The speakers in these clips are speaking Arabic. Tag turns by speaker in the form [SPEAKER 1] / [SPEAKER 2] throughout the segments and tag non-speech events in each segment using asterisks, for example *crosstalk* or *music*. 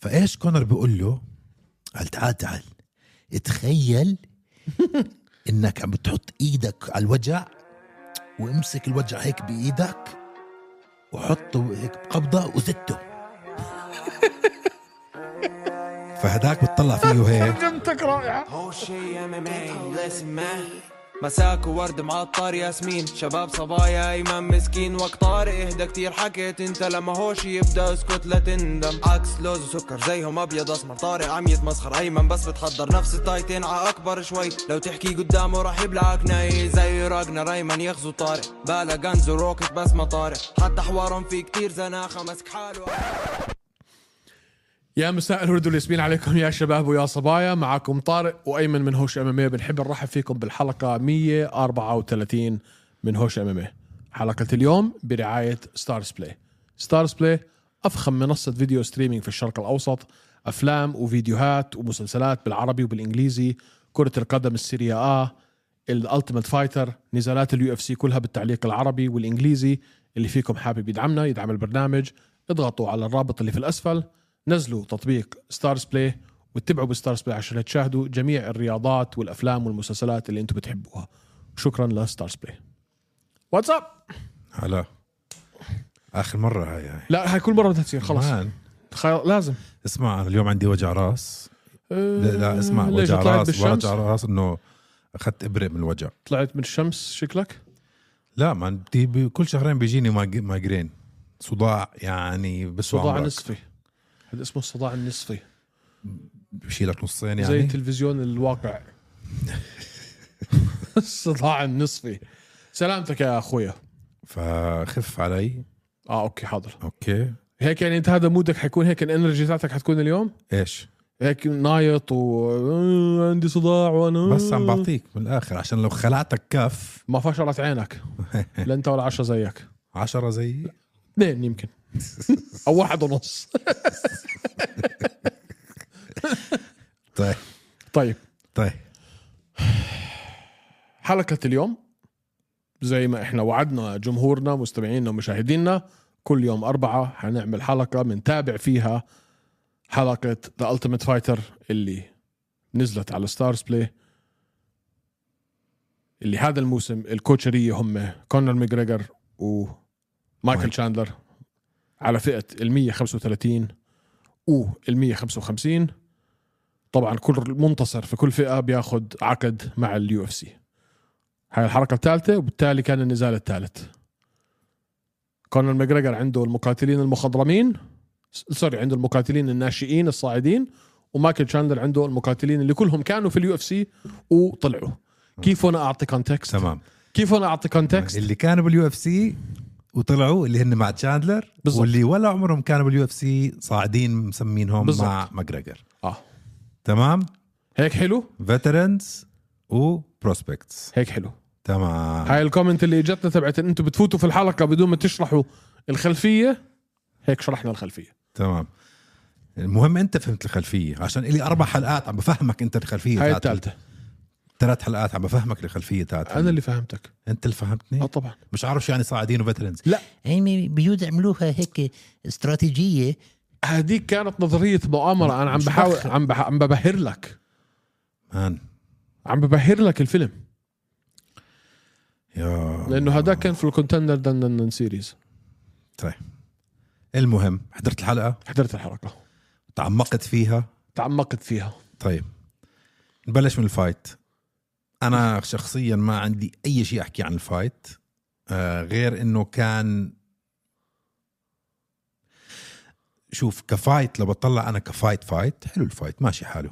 [SPEAKER 1] فايش كونر بيقول له قال تعال تعال
[SPEAKER 2] *laughs*
[SPEAKER 1] تخيل انك عم بتحط ايدك على الوجع وامسك الوجع هيك بايدك وحطه هيك بقبضه
[SPEAKER 2] *laughs*
[SPEAKER 1] وزته فهداك بتطلع فيه هيك
[SPEAKER 3] ترجمتك رائعة
[SPEAKER 4] هو شي ام ام مساك وورد معطر ياسمين شباب صبايا ايمن مسكين وقت طارق اهدى كتير حكيت انت لما هوش يبدا اسكت لا تندم عكس لوز وسكر زيهم ابيض اسمر طارق عم يتمسخر ايمن بس بتحضر نفس التايتين ع اكبر شوي لو تحكي قدامه راح يبلعك ناي زي راجنا ريمان يغزو طارق بالا غنز وروكت بس ما طارق حتى حوارهم في كتير زناخه مسك حاله
[SPEAKER 2] يا مساء الورد والياسمين عليكم يا شباب ويا صبايا معكم طارق وايمن من هوش اماميه بنحب نرحب فيكم بالحلقه 134 من هوش اماميه حلقه اليوم برعايه ستارز بلاي ستارز بلاي افخم منصه فيديو ستريمينج في الشرق الاوسط افلام وفيديوهات ومسلسلات بالعربي وبالانجليزي كره القدم السيريا اه الالتيميت فايتر نزالات اليو اف سي كلها بالتعليق العربي والانجليزي اللي فيكم حابب يدعمنا يدعم البرنامج اضغطوا على الرابط اللي في الاسفل نزلوا تطبيق ستارز بلاي واتبعوا بستارز بلاي عشان تشاهدوا جميع الرياضات والافلام والمسلسلات اللي انتم بتحبوها شكرا لستارز بلاي واتساب
[SPEAKER 1] هلا اخر مره هاي هاي
[SPEAKER 2] لا هاي كل مره بدها تصير خلص
[SPEAKER 1] مان،
[SPEAKER 2] خل... لازم
[SPEAKER 1] اسمع أنا اليوم عندي وجع راس لا, لا اسمع
[SPEAKER 2] آه، ليش
[SPEAKER 1] وجع
[SPEAKER 2] طلعت
[SPEAKER 1] راس
[SPEAKER 2] بالشمس
[SPEAKER 1] وجع راس انه اخذت ابره من الوجع
[SPEAKER 2] طلعت من الشمس شكلك
[SPEAKER 1] لا ما بدي ب- كل شهرين بيجيني ماج- مايجرين صداع يعني بس
[SPEAKER 2] صداع نصفي هذا اسمه الصداع النصفي
[SPEAKER 1] بشيلك نصين
[SPEAKER 2] زي
[SPEAKER 1] يعني *laughs*
[SPEAKER 2] تلفزيون الواقع الصداع النصفي سلامتك يا اخويا
[SPEAKER 1] فخف علي
[SPEAKER 2] اه اوكي حاضر
[SPEAKER 1] اوكي
[SPEAKER 2] هيك يعني انت هذا مودك حيكون هيك الانرجي تاعتك حتكون اليوم
[SPEAKER 1] ايش
[SPEAKER 2] هيك نايط وعندي صداع وانا
[SPEAKER 1] بس عم بعطيك من الاخر عشان لو خلعتك كف
[SPEAKER 2] ما
[SPEAKER 1] *laughs*
[SPEAKER 2] فشلت عينك لا انت ولا عشرة زيك
[SPEAKER 1] عشرة زي *laughs*
[SPEAKER 2] اثنين يمكن او واحد ونص
[SPEAKER 1] طيب
[SPEAKER 2] طيب
[SPEAKER 1] طيب
[SPEAKER 2] حلقة اليوم زي ما احنا وعدنا جمهورنا مستمعينا ومشاهدينا كل يوم أربعة حنعمل حلقة بنتابع فيها حلقة ذا Ultimate فايتر اللي نزلت على ستارز بلاي اللي هذا الموسم الكوتشرية هم كونر ميجريجر ومايكل
[SPEAKER 1] مايك.
[SPEAKER 2] شاندلر على فئة ال 135 و ال 155 طبعا كل منتصر في كل فئة بياخد عقد مع اليو اف سي هاي الحلقة الثالثة وبالتالي كان النزال الثالث كونر ماجريجر عنده المقاتلين المخضرمين س- سوري عنده المقاتلين الناشئين الصاعدين ومايكل شاندلر عنده المقاتلين اللي كلهم كانوا في اليو اف سي وطلعوا كيف انا اعطي كونتكست
[SPEAKER 1] تمام
[SPEAKER 2] كيف انا اعطي كونتكست
[SPEAKER 1] اللي كانوا باليو اف سي وطلعوا اللي هن مع تشاندلر
[SPEAKER 2] بالضبط.
[SPEAKER 1] واللي ولا عمرهم كانوا باليو اف سي صاعدين مسمينهم
[SPEAKER 2] بالضبط.
[SPEAKER 1] مع ماجريجر
[SPEAKER 2] اه
[SPEAKER 1] تمام
[SPEAKER 2] هيك حلو
[SPEAKER 1] فيترنز وبروسبكتس
[SPEAKER 2] هيك حلو
[SPEAKER 1] تمام
[SPEAKER 2] هاي الكومنت اللي اجتنا تبعت ان انتم بتفوتوا في الحلقه بدون ما تشرحوا الخلفيه هيك شرحنا الخلفيه
[SPEAKER 1] تمام المهم انت فهمت الخلفيه عشان الي اربع حلقات عم بفهمك انت الخلفيه
[SPEAKER 2] هاي
[SPEAKER 1] تاعت-
[SPEAKER 2] الثالثه
[SPEAKER 1] ثلاث حلقات عم بفهمك الخلفيه تاعت
[SPEAKER 2] انا اللي فهمتك
[SPEAKER 1] انت اللي
[SPEAKER 2] اه
[SPEAKER 1] فهمتني
[SPEAKER 2] طبعا
[SPEAKER 1] مش عارف شو يعني صاعدين وفترنز
[SPEAKER 2] لا
[SPEAKER 5] يعني بيجوز عملوها هيك استراتيجيه
[SPEAKER 2] هذيك كانت نظريه مؤامره انا عم
[SPEAKER 1] مش
[SPEAKER 2] بحاول
[SPEAKER 1] بخ-
[SPEAKER 2] عم بح... عم ببهر لك
[SPEAKER 1] مان
[SPEAKER 2] عم ببهر لك الفيلم
[SPEAKER 1] يا
[SPEAKER 2] لانه هذا كان في الكونتندر دن دن دن سيريز
[SPEAKER 1] طيب المهم حضرت الحلقه
[SPEAKER 2] حضرت الحلقه
[SPEAKER 1] تعمقت فيها
[SPEAKER 2] تعمقت فيها
[SPEAKER 1] طيب نبلش من الفايت انا شخصيا ما عندي اي شيء احكي عن الفايت آه غير انه كان شوف كفايت لو بطلع انا كفايت فايت حلو الفايت ماشي حاله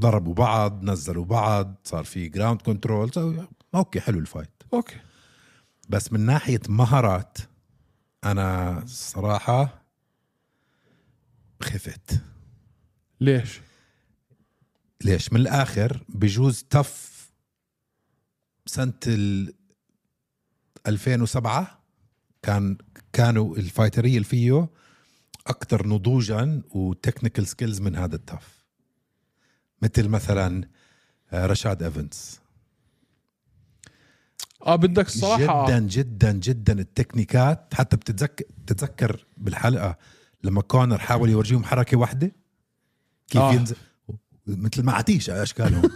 [SPEAKER 1] ضربوا بعض نزلوا بعض صار في جراوند كنترول اوكي حلو الفايت
[SPEAKER 2] اوكي
[SPEAKER 1] بس من ناحيه مهارات انا صراحه خفت
[SPEAKER 2] ليش
[SPEAKER 1] ليش من الاخر بجوز تف سنه ال 2007 كان كانوا الفايتريه اللي فيه اكثر نضوجا وتكنيكال سكيلز من هذا التف مثل مثلا آه، رشاد ايفنز
[SPEAKER 2] اه بدك الصراحه
[SPEAKER 1] جدا جدا جدا التكنيكات حتى بتتذكر بتتذكر بالحلقه لما كونر حاول يورجيهم حركه واحده كيف
[SPEAKER 2] آه.
[SPEAKER 1] آه. ينزل مثل ما عتيش على اشكالهم
[SPEAKER 2] *laughs*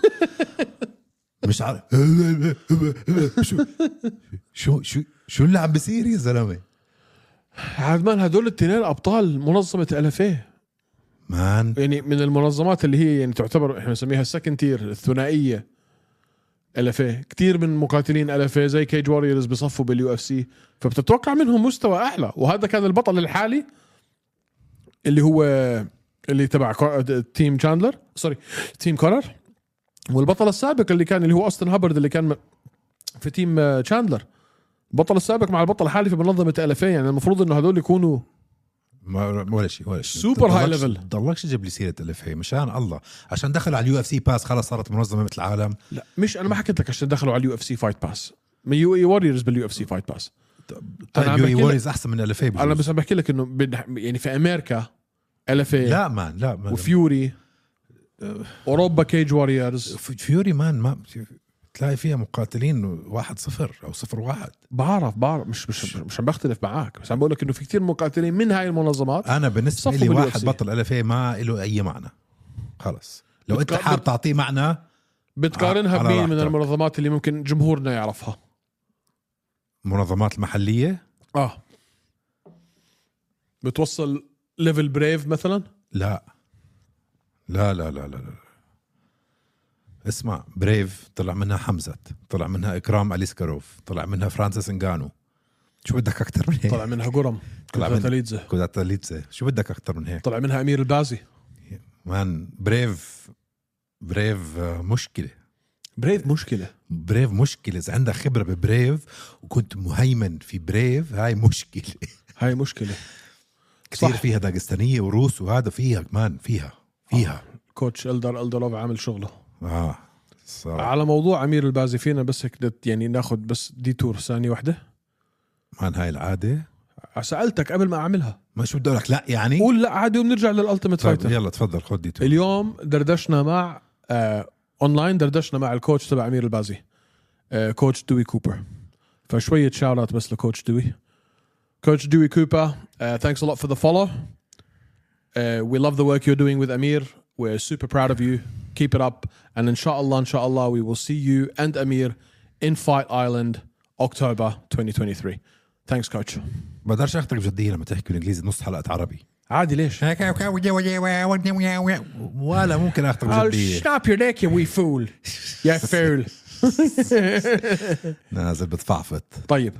[SPEAKER 1] مش عارف شو شو شو شو اللي عم بيصير يا زلمه
[SPEAKER 2] عدمان هدول التنين ابطال منظمه الافيه
[SPEAKER 1] مان
[SPEAKER 2] يعني من المنظمات اللي هي يعني تعتبر احنا نسميها السكند تير الثنائيه الافيه كثير إيه. من مقاتلين الافيه زي كيج واريورز بصفوا باليو اف سي فبتتوقع منهم مستوى اعلى وهذا كان البطل الحالي اللي هو اللي تبع كو- تيم شاندلر سوري تيم كونر والبطل السابق اللي كان اللي هو اوستن هابرد اللي كان م- في تيم آه، شاندلر البطل السابق مع البطل الحالي في منظمه الافيه يعني المفروض انه هذول يكونوا
[SPEAKER 1] ما- ولا شيء ولا شيء
[SPEAKER 2] سوبر هاي
[SPEAKER 1] ضلكش-
[SPEAKER 2] ليفل.
[SPEAKER 1] ضلكش تجيب لي سيره الافيه مشان الله عشان دخل على اليو اف سي باس خلص صارت منظمه مثل العالم
[SPEAKER 2] لا مش انا ما حكيت لك عشان دخلوا على اليو اف سي فايت باس من يو اي واريورز باليو اف سي فايت باس أنا عم
[SPEAKER 1] طيب يو اي
[SPEAKER 2] بحكي لك-
[SPEAKER 1] ووريز احسن من الافيه
[SPEAKER 2] انا
[SPEAKER 1] بجوز.
[SPEAKER 2] بس عم بحكي لك انه بن- يعني في امريكا الفا
[SPEAKER 1] لا آه. مان لا مان
[SPEAKER 2] وفيوري اوروبا كيج واريورز
[SPEAKER 1] في- فيوري مان ما تلاقي فيها مقاتلين واحد صفر او صفر واحد
[SPEAKER 2] بعرف بعرف مش مش مش عم بختلف معك بس عم بقول لك انه في كتير مقاتلين من هاي المنظمات
[SPEAKER 1] انا بالنسبه
[SPEAKER 2] صفوا
[SPEAKER 1] لي
[SPEAKER 2] باليو
[SPEAKER 1] واحد
[SPEAKER 2] إف سي.
[SPEAKER 1] بطل الافيه ما له اي معنى خلص لو انت
[SPEAKER 2] بتقدر-
[SPEAKER 1] حابب تعطيه معنى
[SPEAKER 2] بتقارنها
[SPEAKER 1] آه، على
[SPEAKER 2] بمين من
[SPEAKER 1] راحتك.
[SPEAKER 2] المنظمات اللي ممكن جمهورنا يعرفها
[SPEAKER 1] منظمات المحليه
[SPEAKER 2] اه بتوصل ليفل بريف مثلا
[SPEAKER 1] لا لا لا لا لا, لا. اسمع بريف طلع منها حمزه طلع منها اكرام اليسكاروف طلع منها فرانسيس انغانو شو بدك اكثر من هيك
[SPEAKER 2] طلع منها قرم
[SPEAKER 1] طلع
[SPEAKER 2] كوزاتا
[SPEAKER 1] منها-
[SPEAKER 2] ليدزة.
[SPEAKER 1] كوزاتاليتسه شو بدك اكثر من هيك
[SPEAKER 2] طلع منها امير البازي
[SPEAKER 1] مان بريف بريف آه، مشكله
[SPEAKER 2] بريف مشكله
[SPEAKER 1] بريف مشكله اذا عندك خبره ببريف وكنت مهيمن في بريف هاي مشكله
[SPEAKER 2] هاي مشكله
[SPEAKER 1] كثير
[SPEAKER 2] صح.
[SPEAKER 1] فيها داغستانيه وروس وهذا فيها كمان فيها فيها
[SPEAKER 2] كوتش الدر الدروف عامل شغله
[SPEAKER 1] اه صار
[SPEAKER 2] على موضوع امير البازي فينا بس هيك دت- يعني ناخذ بس ديتور ثانيه واحده
[SPEAKER 1] مان هاي العاده
[SPEAKER 2] سالتك قبل ما اعملها
[SPEAKER 1] ما شو بدي اقول لك لا يعني
[SPEAKER 2] قول لا عادي وبنرجع للالتيميت
[SPEAKER 1] طيب
[SPEAKER 2] فايتر
[SPEAKER 1] يلا تفضل خد دي تو.
[SPEAKER 2] اليوم دردشنا مع آه اونلاين دردشنا مع الكوتش تبع امير البازي آه كوتش دوي كوبر فشويه شاوت بس لكوتش دوي كوتش دوي كوبر uh, thanks a lot for the follow Uh, we love the work you're doing with Amir. We're super proud of you. Keep it up. And inshallah, inshallah, we will see you and Amir in Fight Island October 2023. Thanks, coach.
[SPEAKER 1] بقدرش اخذك بجديه لما تحكي بالانجليزي نص حلقه عربي
[SPEAKER 2] عادي ليش؟
[SPEAKER 1] ولا ممكن اخذك
[SPEAKER 2] I'll
[SPEAKER 1] بجديه
[SPEAKER 2] snap your neck, you wee fool. يا فول
[SPEAKER 1] نازل بتفعفط
[SPEAKER 2] طيب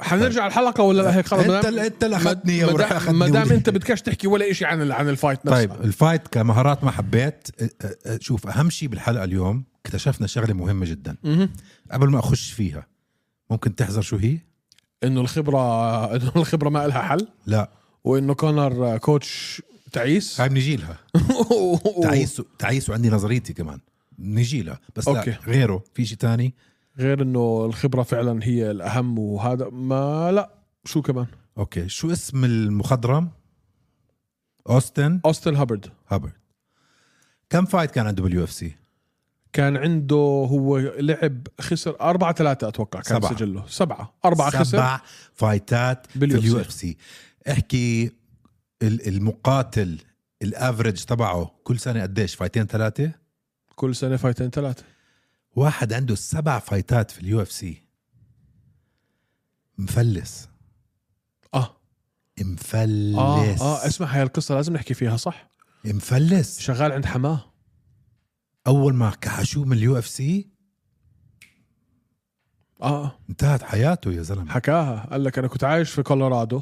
[SPEAKER 2] حنرجع الحلقه ولا لا هيك خلص
[SPEAKER 1] أنت
[SPEAKER 2] مدام-
[SPEAKER 1] اللي- أنت اللي أخذتني يا
[SPEAKER 2] مدام-
[SPEAKER 1] وراح أخذني
[SPEAKER 2] ما دام
[SPEAKER 1] ولي.
[SPEAKER 2] انت بدكش تحكي ولا شيء عن ال- عن الفايت نفسها
[SPEAKER 1] طيب الفايت كمهارات ما حبيت أ- أ- أ- شوف اهم شيء بالحلقه اليوم اكتشفنا شغله مهمه جدا قبل ما اخش فيها ممكن تحذر شو هي؟
[SPEAKER 2] انه الخبره انه الخبره ما لها حل
[SPEAKER 1] لا
[SPEAKER 2] وانه كونر آه، كوتش تعيس *laughs*
[SPEAKER 1] هاي بنجي لها تعيس تعيس وعندي نظريتي كمان بنجي لها بس
[SPEAKER 2] أوكي.
[SPEAKER 1] لا غيره في شيء تاني
[SPEAKER 2] غير انه الخبره فعلا هي الاهم وهذا ما لا شو كمان
[SPEAKER 1] اوكي شو اسم المخضرم؟ اوستن
[SPEAKER 2] اوستن هابرد
[SPEAKER 1] هابرد كم فايت كان عنده باليو اف سي؟
[SPEAKER 2] كان عنده هو لعب خسر أربعة ثلاثة أتوقع كان
[SPEAKER 1] سبعة.
[SPEAKER 2] سجله سبعة أربعة خسر
[SPEAKER 1] سبع فايتات
[SPEAKER 2] باليو
[SPEAKER 1] باليو
[SPEAKER 2] إف
[SPEAKER 1] اف سي احكي ال- المقاتل الافرج تبعه كل سنه قديش فايتين ثلاثه
[SPEAKER 2] كل سنة فايتين ثلاثة
[SPEAKER 1] واحد عنده سبع فايتات في اليو اف سي مفلس
[SPEAKER 2] آه.
[SPEAKER 1] مفلس
[SPEAKER 2] آه آه اسمع هاي القصة لازم نحكي فيها صح
[SPEAKER 1] مفلس
[SPEAKER 2] شغال عند حماه
[SPEAKER 1] اول ما كحشوه من اليو اف سي
[SPEAKER 2] آه آه.
[SPEAKER 1] انتهت حياته يا زلمه
[SPEAKER 2] حكاها قال لك أنا كنت عايش في كولورادو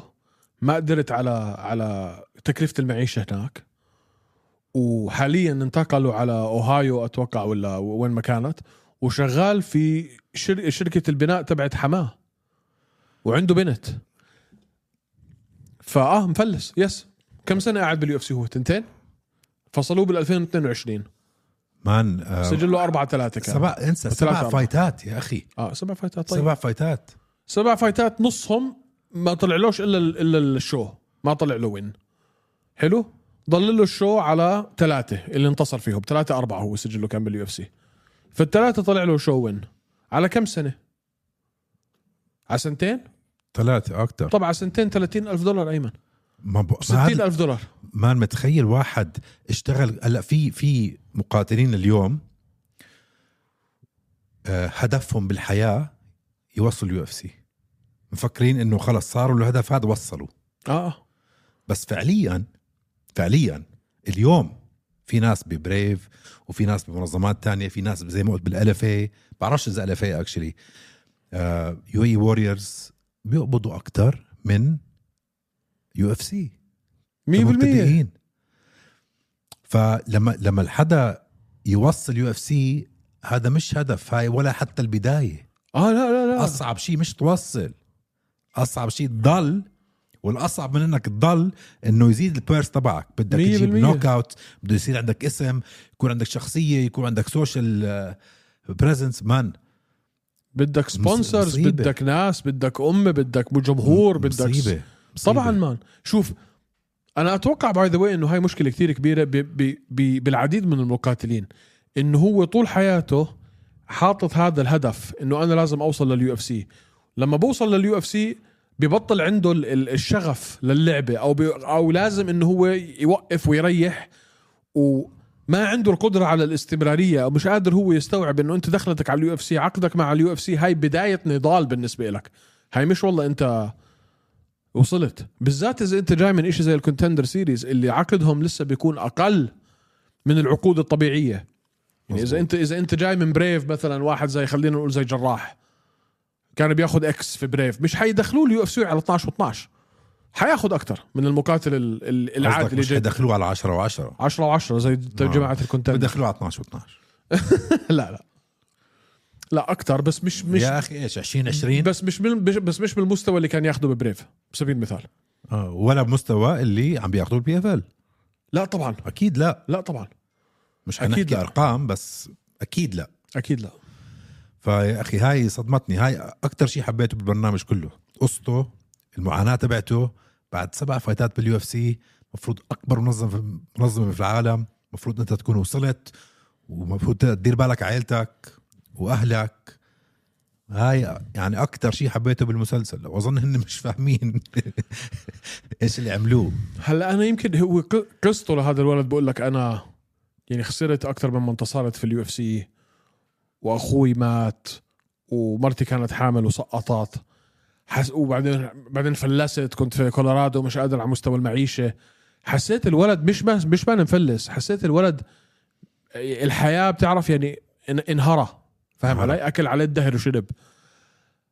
[SPEAKER 2] ما قدرت على على تكلفة المعيشة هناك وحاليا انتقلوا على أوهايو أتوقع ولا وين ما كانت وشغال في شر... شركة البناء تبعت حماه وعنده بنت فاه مفلس يس كم سنه قاعد باليو اف سي هو تنتين فصلوه بال 2022
[SPEAKER 1] مان آه
[SPEAKER 2] سجل له اربعه ثلاثه كان
[SPEAKER 1] سبع انسى
[SPEAKER 2] وثلاثة
[SPEAKER 1] سبع
[SPEAKER 2] أربعة.
[SPEAKER 1] فايتات يا اخي
[SPEAKER 2] اه سبع فايتات طيب سبع,
[SPEAKER 1] سبع فايتات
[SPEAKER 2] سبع فايتات نصهم ما طلعلوش الا الا الشو ما طلع له وين حلو ضل له الشو على ثلاثه اللي انتصر فيهم ثلاثه اربعه هو سجله كان باليو اف سي فالثلاثه طلع له شو وين على كم سنه على سنتين
[SPEAKER 1] ثلاثه اكثر
[SPEAKER 2] طيب. طبعا سنتين 30 الف دولار ايمن
[SPEAKER 1] ما ب... ما
[SPEAKER 2] 60
[SPEAKER 1] هذا
[SPEAKER 2] الف دولار
[SPEAKER 1] مان متخيل واحد اشتغل هلا في في مقاتلين اليوم آه، هدفهم بالحياه يوصلوا اليو اف سي مفكرين انه خلص صاروا الهدف هذا وصلوا
[SPEAKER 2] اه
[SPEAKER 1] بس فعليا فعليا اليوم في ناس ببريف وفي ناس بمنظمات تانية في ناس زي ما قلت بالالفه بعرفش اذا الفه اكشلي آه، يو اي ووريرز بيقبضوا اكثر من يو اف سي
[SPEAKER 2] 100%
[SPEAKER 1] كمبتدئين فلما لما الحدا يوصل يو اف سي هذا مش هدف هاي ولا حتى البدايه
[SPEAKER 2] اه لا لا لا
[SPEAKER 1] اصعب شيء مش توصل اصعب شيء تضل والاصعب من انك تضل انه يزيد البيرس تبعك بدك
[SPEAKER 2] مية
[SPEAKER 1] تجيب
[SPEAKER 2] بالمية.
[SPEAKER 1] نوك اوت بده يصير عندك اسم يكون عندك شخصيه يكون عندك آه، سوشيال بريزنس مان
[SPEAKER 2] بدك سبونسرز
[SPEAKER 1] مصيبة.
[SPEAKER 2] بدك ناس بدك امه بدك جمهور بدك س-
[SPEAKER 1] مصيبه
[SPEAKER 2] طبعا مان شوف انا اتوقع باي ذا واي انه هاي مشكله كثير كبيره ب ب ب بالعديد من المقاتلين انه هو طول حياته حاطط هذا الهدف انه انا لازم اوصل لليو اف سي لما بوصل لليو اف سي ببطل عنده ال- ال- الشغف للعبه او بي او لازم انه هو يوقف ويريح وما عنده القدره على الاستمراريه او مش قادر هو يستوعب انه انت دخلتك على اليو اف سي عقدك مع اليو اف سي هاي بدايه نضال بالنسبه لك هاي مش والله انت وصلت بالذات اذا انت جاي من شيء زي الكونتندر سيريز اللي عقدهم لسه بيكون اقل من العقود الطبيعيه يعني اذا انت اذا انت جاي من بريف مثلا واحد زي خلينا نقول زي جراح كان بياخذ اكس في بريف مش حيدخلوا اليو اف سي على 12 و12 حياخذ اكثر من المقاتل ال- ال- العادي اللي جاي
[SPEAKER 1] يدخلوه على 10 و10
[SPEAKER 2] 10 و10 زي جماعه الكونتندر
[SPEAKER 1] بدخلوه على 12 و12
[SPEAKER 2] آه. *laughs* لا لا لا اكثر بس مش مش
[SPEAKER 1] يا اخي ايش 2020
[SPEAKER 2] بس مش بال- بس مش بالمستوى اللي كان ياخده ببريف بسبيل المثال
[SPEAKER 1] آه، ولا بمستوى اللي عم بياخذوه البي اف ال
[SPEAKER 2] لا طبعا
[SPEAKER 1] اكيد لا
[SPEAKER 2] لا طبعا
[SPEAKER 1] مش
[SPEAKER 2] أكيد
[SPEAKER 1] حنحكي
[SPEAKER 2] لا.
[SPEAKER 1] ارقام بس اكيد لا
[SPEAKER 2] اكيد لا
[SPEAKER 1] فيا اخي هاي صدمتني هاي اكثر شيء حبيته بالبرنامج كله قصته المعاناه تبعته بعد سبع فايتات باليو اف سي مفروض اكبر منظمه في منظمه في العالم مفروض انت تكون وصلت ومفروض تدير بالك عائلتك واهلك هاي يعني اكثر شيء حبيته بالمسلسل واظن هن مش فاهمين *laughs* ايش اللي عملوه
[SPEAKER 2] هلا انا يمكن هو ق- قصته لهذا الولد بقول لك انا يعني خسرت اكثر مما انتصرت في اليو اف سي واخوي مات ومرتي كانت حامل وسقطت حس وبعدين بعدين فلست كنت في كولورادو مش قادر على مستوى المعيشه حسيت الولد مش بس مش بان مفلس حسيت الولد الحياه بتعرف يعني ان- انهرى فاهم
[SPEAKER 1] انهرى.
[SPEAKER 2] علي اكل عليه الدهر وشرب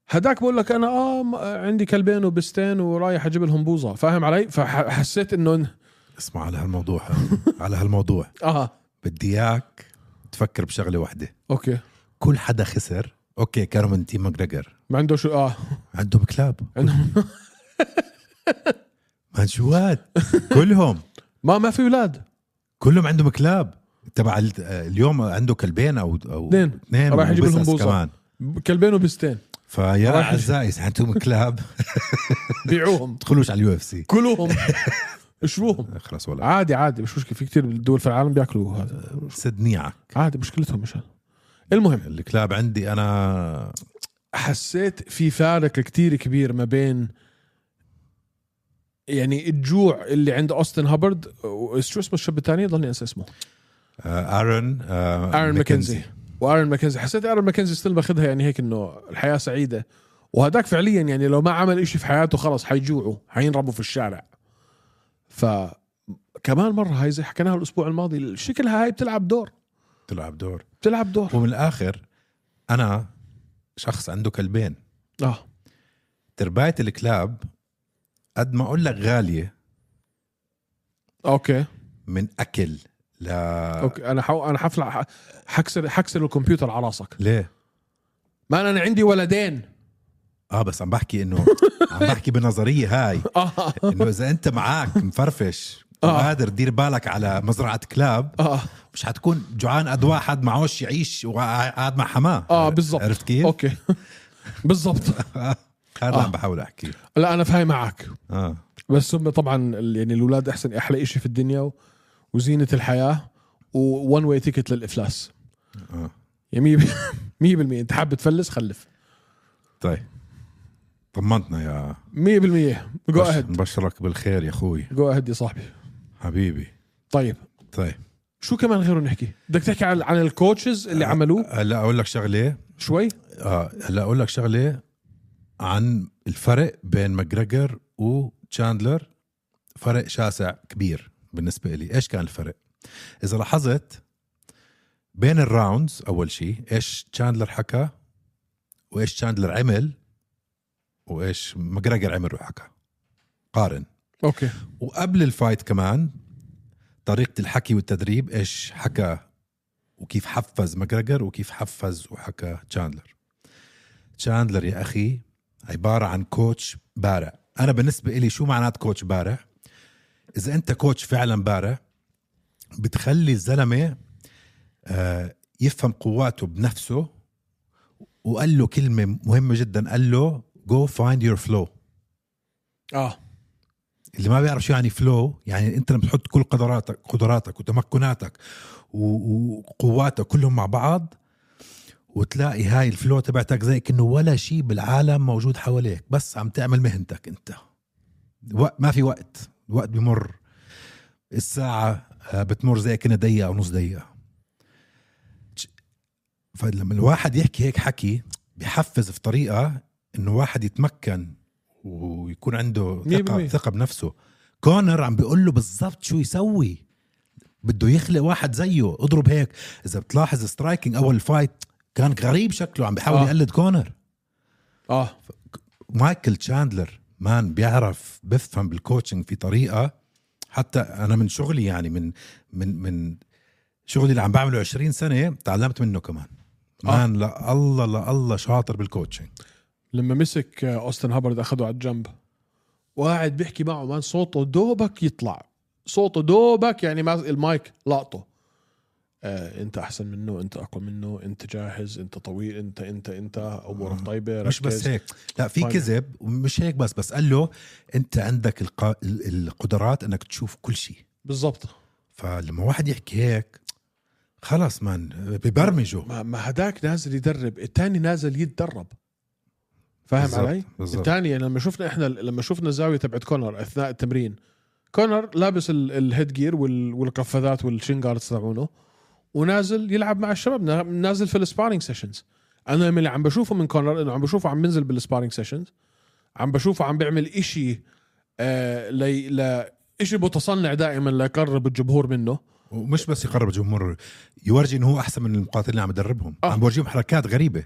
[SPEAKER 2] هداك بقول لك انا اه م- عندي كلبين وبستين ورايح اجيب لهم بوظه فاهم علي فحسيت انه
[SPEAKER 1] اسمع على هالموضوع *laughs* على هالموضوع
[SPEAKER 2] اه
[SPEAKER 1] بدي اياك تفكر بشغله واحده
[SPEAKER 2] اوكي
[SPEAKER 1] كل حدا خسر اوكي كانوا من تيم ماجريجر
[SPEAKER 2] ما عنده شو *laughs* اه
[SPEAKER 1] عندهم كلاب
[SPEAKER 2] عندهم
[SPEAKER 1] منشوات
[SPEAKER 2] *laughs*
[SPEAKER 1] كلهم
[SPEAKER 2] ما ما في اولاد
[SPEAKER 1] كلهم عندهم كلاب تبع ال- آه، اليوم عنده كلبين او او
[SPEAKER 2] اثنين.
[SPEAKER 1] اثنين
[SPEAKER 2] راح يجيب لهم
[SPEAKER 1] وبسس
[SPEAKER 2] بوزة.
[SPEAKER 1] كمان
[SPEAKER 2] كلبين وبستين
[SPEAKER 1] فيا
[SPEAKER 2] راح يجيب-
[SPEAKER 1] اعزائي اذا عندهم كلاب *laughs*
[SPEAKER 2] بيعوهم
[SPEAKER 1] دخلوش على اليو اف سي
[SPEAKER 2] كلوهم اشروهم
[SPEAKER 1] خلص ولا
[SPEAKER 2] عادي عادي مش مشكله في كتير دول في العالم بياكلوا هذا
[SPEAKER 1] سد نيعك
[SPEAKER 2] عادي مشكلتهم مش هذا المهم
[SPEAKER 1] الكلاب عندي انا
[SPEAKER 2] حسيت في فارق كتير كبير ما بين يعني الجوع اللي عند اوستن هابرد وشو اسمه الشاب الثاني ضلني انسى اسمه
[SPEAKER 1] آه، ارون آه،
[SPEAKER 2] ايرون ماكنزي وارن ماكنزي حسيت ايرون ماكنزي ستيل باخذها يعني هيك انه الحياه سعيده وهداك فعليا يعني لو ما عمل إشي في حياته خلص حيجوعوا حينربوا في الشارع ف كمان مره هاي زي حكيناها الاسبوع الماضي شكلها هاي بتلعب دور
[SPEAKER 1] تلعب دور
[SPEAKER 2] بتلعب دور
[SPEAKER 1] ومن الاخر انا شخص عنده كلبين
[SPEAKER 2] اه
[SPEAKER 1] تربايه الكلاب قد ما اقول لك غاليه
[SPEAKER 2] اوكي
[SPEAKER 1] من اكل لا
[SPEAKER 2] اوكي انا حو... انا حفلع ح- حكسر حكسر الكمبيوتر على راسك
[SPEAKER 1] ليه
[SPEAKER 2] ما انا أنا عندي ولدين *laughs*
[SPEAKER 1] اه بس عم بحكي انه عم بحكي بالنظريه هاي
[SPEAKER 2] اه
[SPEAKER 1] انه اذا انت معك مفرفش
[SPEAKER 2] آه.
[SPEAKER 1] وقادر تدير بالك على مزرعه كلاب
[SPEAKER 2] اه
[SPEAKER 1] مش حتكون جوعان قد واحد معوش يعيش وقاعد مع حماه
[SPEAKER 2] اه بالضبط
[SPEAKER 1] عرفت كيف؟
[SPEAKER 2] اوكي *laughs* بالضبط
[SPEAKER 1] هذا
[SPEAKER 2] آه.
[SPEAKER 1] عم بحاول احكي
[SPEAKER 2] لا انا فاهم معك
[SPEAKER 1] اه
[SPEAKER 2] بس هم طبعا ال- يعني الاولاد احسن احلى شيء في الدنيا و- وزينه الحياه وون واي تيكت للافلاس
[SPEAKER 1] آه.
[SPEAKER 2] يعني 100% انت حابب تفلس خلف
[SPEAKER 1] طيب طمنتنا يا
[SPEAKER 2] 100% جو اهيد
[SPEAKER 1] بشرك بالخير يا اخوي
[SPEAKER 2] جو اهيد يا صاحبي
[SPEAKER 1] حبيبي
[SPEAKER 2] طيب
[SPEAKER 1] طيب
[SPEAKER 2] شو كمان غيره نحكي بدك تحكي عن عن الكوتشز اللي عملوه
[SPEAKER 1] هلا اقول لك شغله
[SPEAKER 2] شوي
[SPEAKER 1] آه هلا اقول لك شغله عن الفرق بين ماجريجر وتشاندلر فرق شاسع كبير بالنسبه لي ايش كان الفرق اذا لاحظت بين الراوندز اول شيء ايش تشاندلر حكى وايش تشاندلر عمل وايش ماجريجر عمل وحكى قارن
[SPEAKER 2] اوكي
[SPEAKER 1] وقبل الفايت كمان طريقة الحكي والتدريب ايش حكى وكيف حفز ماجريجر وكيف حفز وحكى تشاندلر تشاندلر يا اخي عبارة عن كوتش بارع انا بالنسبة إلي شو معنات كوتش بارع اذا انت كوتش فعلا بارع بتخلي الزلمة آه، يفهم قواته بنفسه وقال له كلمة مهمة جدا قال له go find your flow
[SPEAKER 2] اه
[SPEAKER 1] اللي ما بيعرف شو يعني فلو يعني انت لما تحط كل قدراتك قدراتك وتمكناتك و- وقواتك كلهم مع بعض وتلاقي هاي الفلو تبعتك زي كأنه ولا شيء بالعالم موجود حواليك بس عم تعمل مهنتك انت وق- ما في وقت الوقت بمر الساعة آه، بتمر زي كأنها دقيقة أو نص دقيقة تش- فلما الواحد يحكي هيك حكي بحفز في طريقة انه واحد يتمكن ويكون عنده
[SPEAKER 2] مية
[SPEAKER 1] ثقة
[SPEAKER 2] بالمية.
[SPEAKER 1] ثقة بنفسه كونر عم بيقول له بالضبط شو يسوي بده يخلق واحد زيه اضرب هيك اذا بتلاحظ سترايكنج اول الفايت كان غريب شكله عم بيحاول
[SPEAKER 2] آه.
[SPEAKER 1] آه. يقلد كونر
[SPEAKER 2] اه
[SPEAKER 1] مايكل تشاندلر مان بيعرف بفهم بالكوتشنج في طريقه حتى انا من شغلي يعني من من من شغلي اللي عم بعمله 20 سنه تعلمت منه كمان
[SPEAKER 2] آه.
[SPEAKER 1] مان لا الله لا الله شاطر بالكوتشنج
[SPEAKER 2] لما مسك آه، اوستن هابرد اخذه على الجنب وقاعد بيحكي معه مان صوته دوبك يطلع صوته دوبك يعني ما المايك لقطه آه انت احسن منه انت اقوى منه انت جاهز انت طويل انت انت انت امورك طيبه
[SPEAKER 1] مش
[SPEAKER 2] ركز.
[SPEAKER 1] بس هيك لا في
[SPEAKER 2] طيب.
[SPEAKER 1] كذب ومش هيك بس بس قال له انت عندك الق... ال- القدرات انك تشوف كل شيء
[SPEAKER 2] بالضبط
[SPEAKER 1] فلما واحد يحكي هيك خلص مان ببرمجه
[SPEAKER 2] ما, ما هداك نازل يدرب الثاني نازل يتدرب فاهم
[SPEAKER 1] بالضبط،
[SPEAKER 2] علي؟
[SPEAKER 1] بالضبط.
[SPEAKER 2] الثاني لما شفنا احنا لما شفنا زاويه تبعت كونر اثناء التمرين كونر لابس ال- الهيد جير وال- والقفازات والشين جاردز تبعونه ونازل يلعب مع الشباب نا- نازل في السبارينج سيشنز انا من اللي عم بشوفه من كونر انه عم بشوفه عم بنزل بالسبارينج سيشنز عم بشوفه عم بيعمل إشي آه لي ل إشي متصنع دائما ليقرب الجمهور منه
[SPEAKER 1] ومش بس يقرب الجمهور يورجي انه هو احسن من المقاتلين اللي عم يدربهم
[SPEAKER 2] آه.
[SPEAKER 1] آه. عم بورجيهم حركات غريبه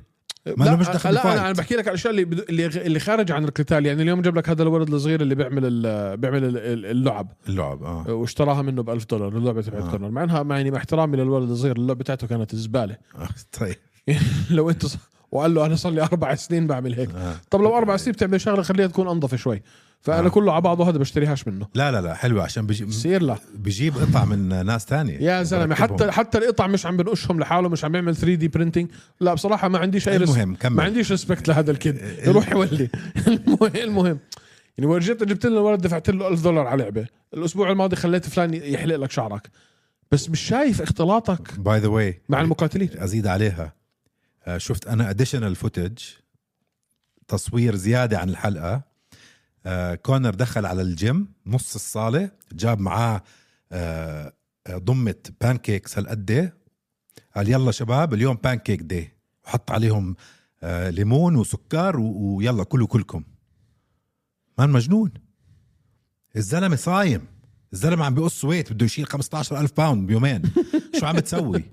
[SPEAKER 1] ما
[SPEAKER 2] لا
[SPEAKER 1] له مش دخل
[SPEAKER 2] لا
[SPEAKER 1] بالفايت.
[SPEAKER 2] انا انا بحكي لك على الاشياء اللي بدو- اللي غ- اللي خارج عن القتال يعني اليوم جاب لك هذا الولد الصغير اللي بيعمل ال- بيعمل ال- ال- اللعب
[SPEAKER 1] اللعب اه
[SPEAKER 2] واشتراها منه ب 1000 دولار اللعبه تبعت
[SPEAKER 1] آه.
[SPEAKER 2] كونر مع انها مع يعني مع احترامي للولد الصغير اللعبه تاعته كانت زباله
[SPEAKER 1] آه، *laughs* طيب
[SPEAKER 2] *laughs* لو انت ص- وقال له انا صار لي اربع سنين بعمل هيك
[SPEAKER 1] آه.
[SPEAKER 2] طب لو اربع سنين بتعمل شغله خليها تكون انظف شوي فانا
[SPEAKER 1] آه.
[SPEAKER 2] كله على بعضه هذا بشتريهاش منه
[SPEAKER 1] لا لا لا حلوه عشان بيجي
[SPEAKER 2] بصير لا
[SPEAKER 1] بجيب قطع من ناس تانية
[SPEAKER 2] يا زلمه
[SPEAKER 1] بركبهم.
[SPEAKER 2] حتى حتى القطع مش عم بنقشهم لحاله مش عم بيعمل 3 دي برينتينج لا بصراحه ما عنديش اي رس-
[SPEAKER 1] المهم كمل
[SPEAKER 2] ما عنديش ريسبكت لهذا الكد يروح يولي *laughs* المهم- المهم يعني ورجيت جبت لنا الولد دفعت له 1000 دولار على لعبه الاسبوع الماضي خليت فلان يحلق لك شعرك بس مش شايف اختلاطك
[SPEAKER 1] باي ذا واي
[SPEAKER 2] مع المقاتلين
[SPEAKER 1] ازيد عليها آه، شفت انا اديشنال فوتج تصوير زياده عن الحلقه آه، كونر دخل على الجيم نص الصاله جاب معاه آه، آه، ضمه بانكيكس هالقد قال يلا شباب اليوم بانكيك دي وحط عليهم آه، ليمون وسكر و- ويلا كلوا كلكم مان مجنون الزلمه صايم الزلمه عم بيقص ويت بده يشيل 15000 باوند بيومين شو عم بتسوي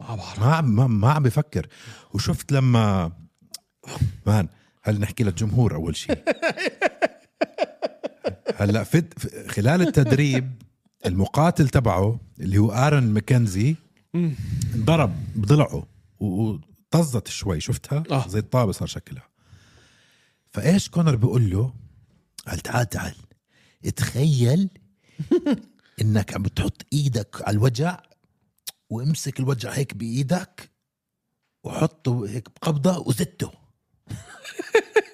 [SPEAKER 2] ما بعرف
[SPEAKER 1] ما عم ما- ما عم بفكر وشفت لما مان هل نحكي للجمهور اول *laughs* شيء هلا في في- خلال التدريب المقاتل تبعه اللي هو ارن ماكنزي انضرب بضلعه و- وطزت شوي شفتها
[SPEAKER 2] آه.
[SPEAKER 1] زي الطابه صار شكلها فايش كونر بيقول له
[SPEAKER 3] قال تعال تعال تخيل انك عم بتحط ايدك على الوجع وامسك الوجع هيك بايدك وحطه هيك بقبضه وزته
[SPEAKER 1] *laughs*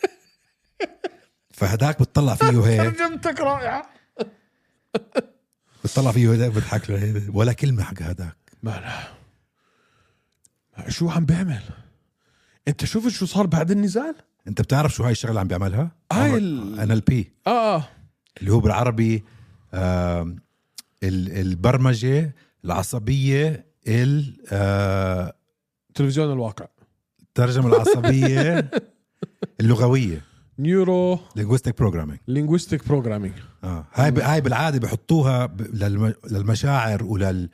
[SPEAKER 1] فهداك بتطلع فيه هيك
[SPEAKER 2] ترجمتك رائعه
[SPEAKER 1] بتطلع فيه هيك بضحك له هيك، ولا كلمه حق هداك
[SPEAKER 2] ما لا ما شو عم بيعمل انت شفت شو صار بعد النزال
[SPEAKER 1] انت بتعرف شو هاي الشغله عم بيعملها؟
[SPEAKER 2] هاي ال-
[SPEAKER 1] ان ال بي
[SPEAKER 2] اه اه
[SPEAKER 1] اللي هو بالعربي آم، ال- البرمجه العصبيه ال- آه،
[SPEAKER 2] تلفزيون الواقع
[SPEAKER 1] الترجمه العصبيه اللغويه
[SPEAKER 2] نيورو
[SPEAKER 1] linguistic programming
[SPEAKER 2] لينغويستيك بروجرامينج
[SPEAKER 1] اه هاي ب... هاي بالعاده بحطوها ب... للم... للمشاعر ولل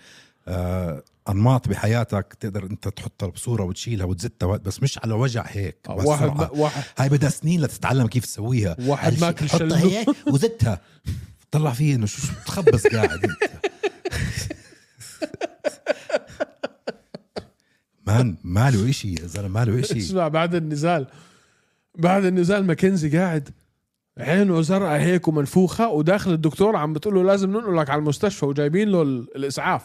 [SPEAKER 1] آه... انماط بحياتك تقدر انت تحطها بصوره وتشيلها وتزتها و- بس مش على وجع هيك
[SPEAKER 2] آه، واحد
[SPEAKER 1] بهالسرعة.
[SPEAKER 2] ما واحد
[SPEAKER 1] هاي بدها سنين لتتعلم كيف تسويها
[SPEAKER 2] واحد ماكل
[SPEAKER 1] حطها
[SPEAKER 2] شلو *laughs*
[SPEAKER 1] هيك إيه. وزتها طلع فيه انه شو شو بتخبص قاعد انت *laughs* مان ماله اشي يا زلمه ماله
[SPEAKER 2] *laughs*
[SPEAKER 1] اشي
[SPEAKER 2] اسمع بعد النزال بعد النزال ماكنزي قاعد عينه زرقاء هيك ومنفوخه وداخل الدكتور عم بتقول له لازم ننقلك على المستشفى وجايبين له ال- الاسعاف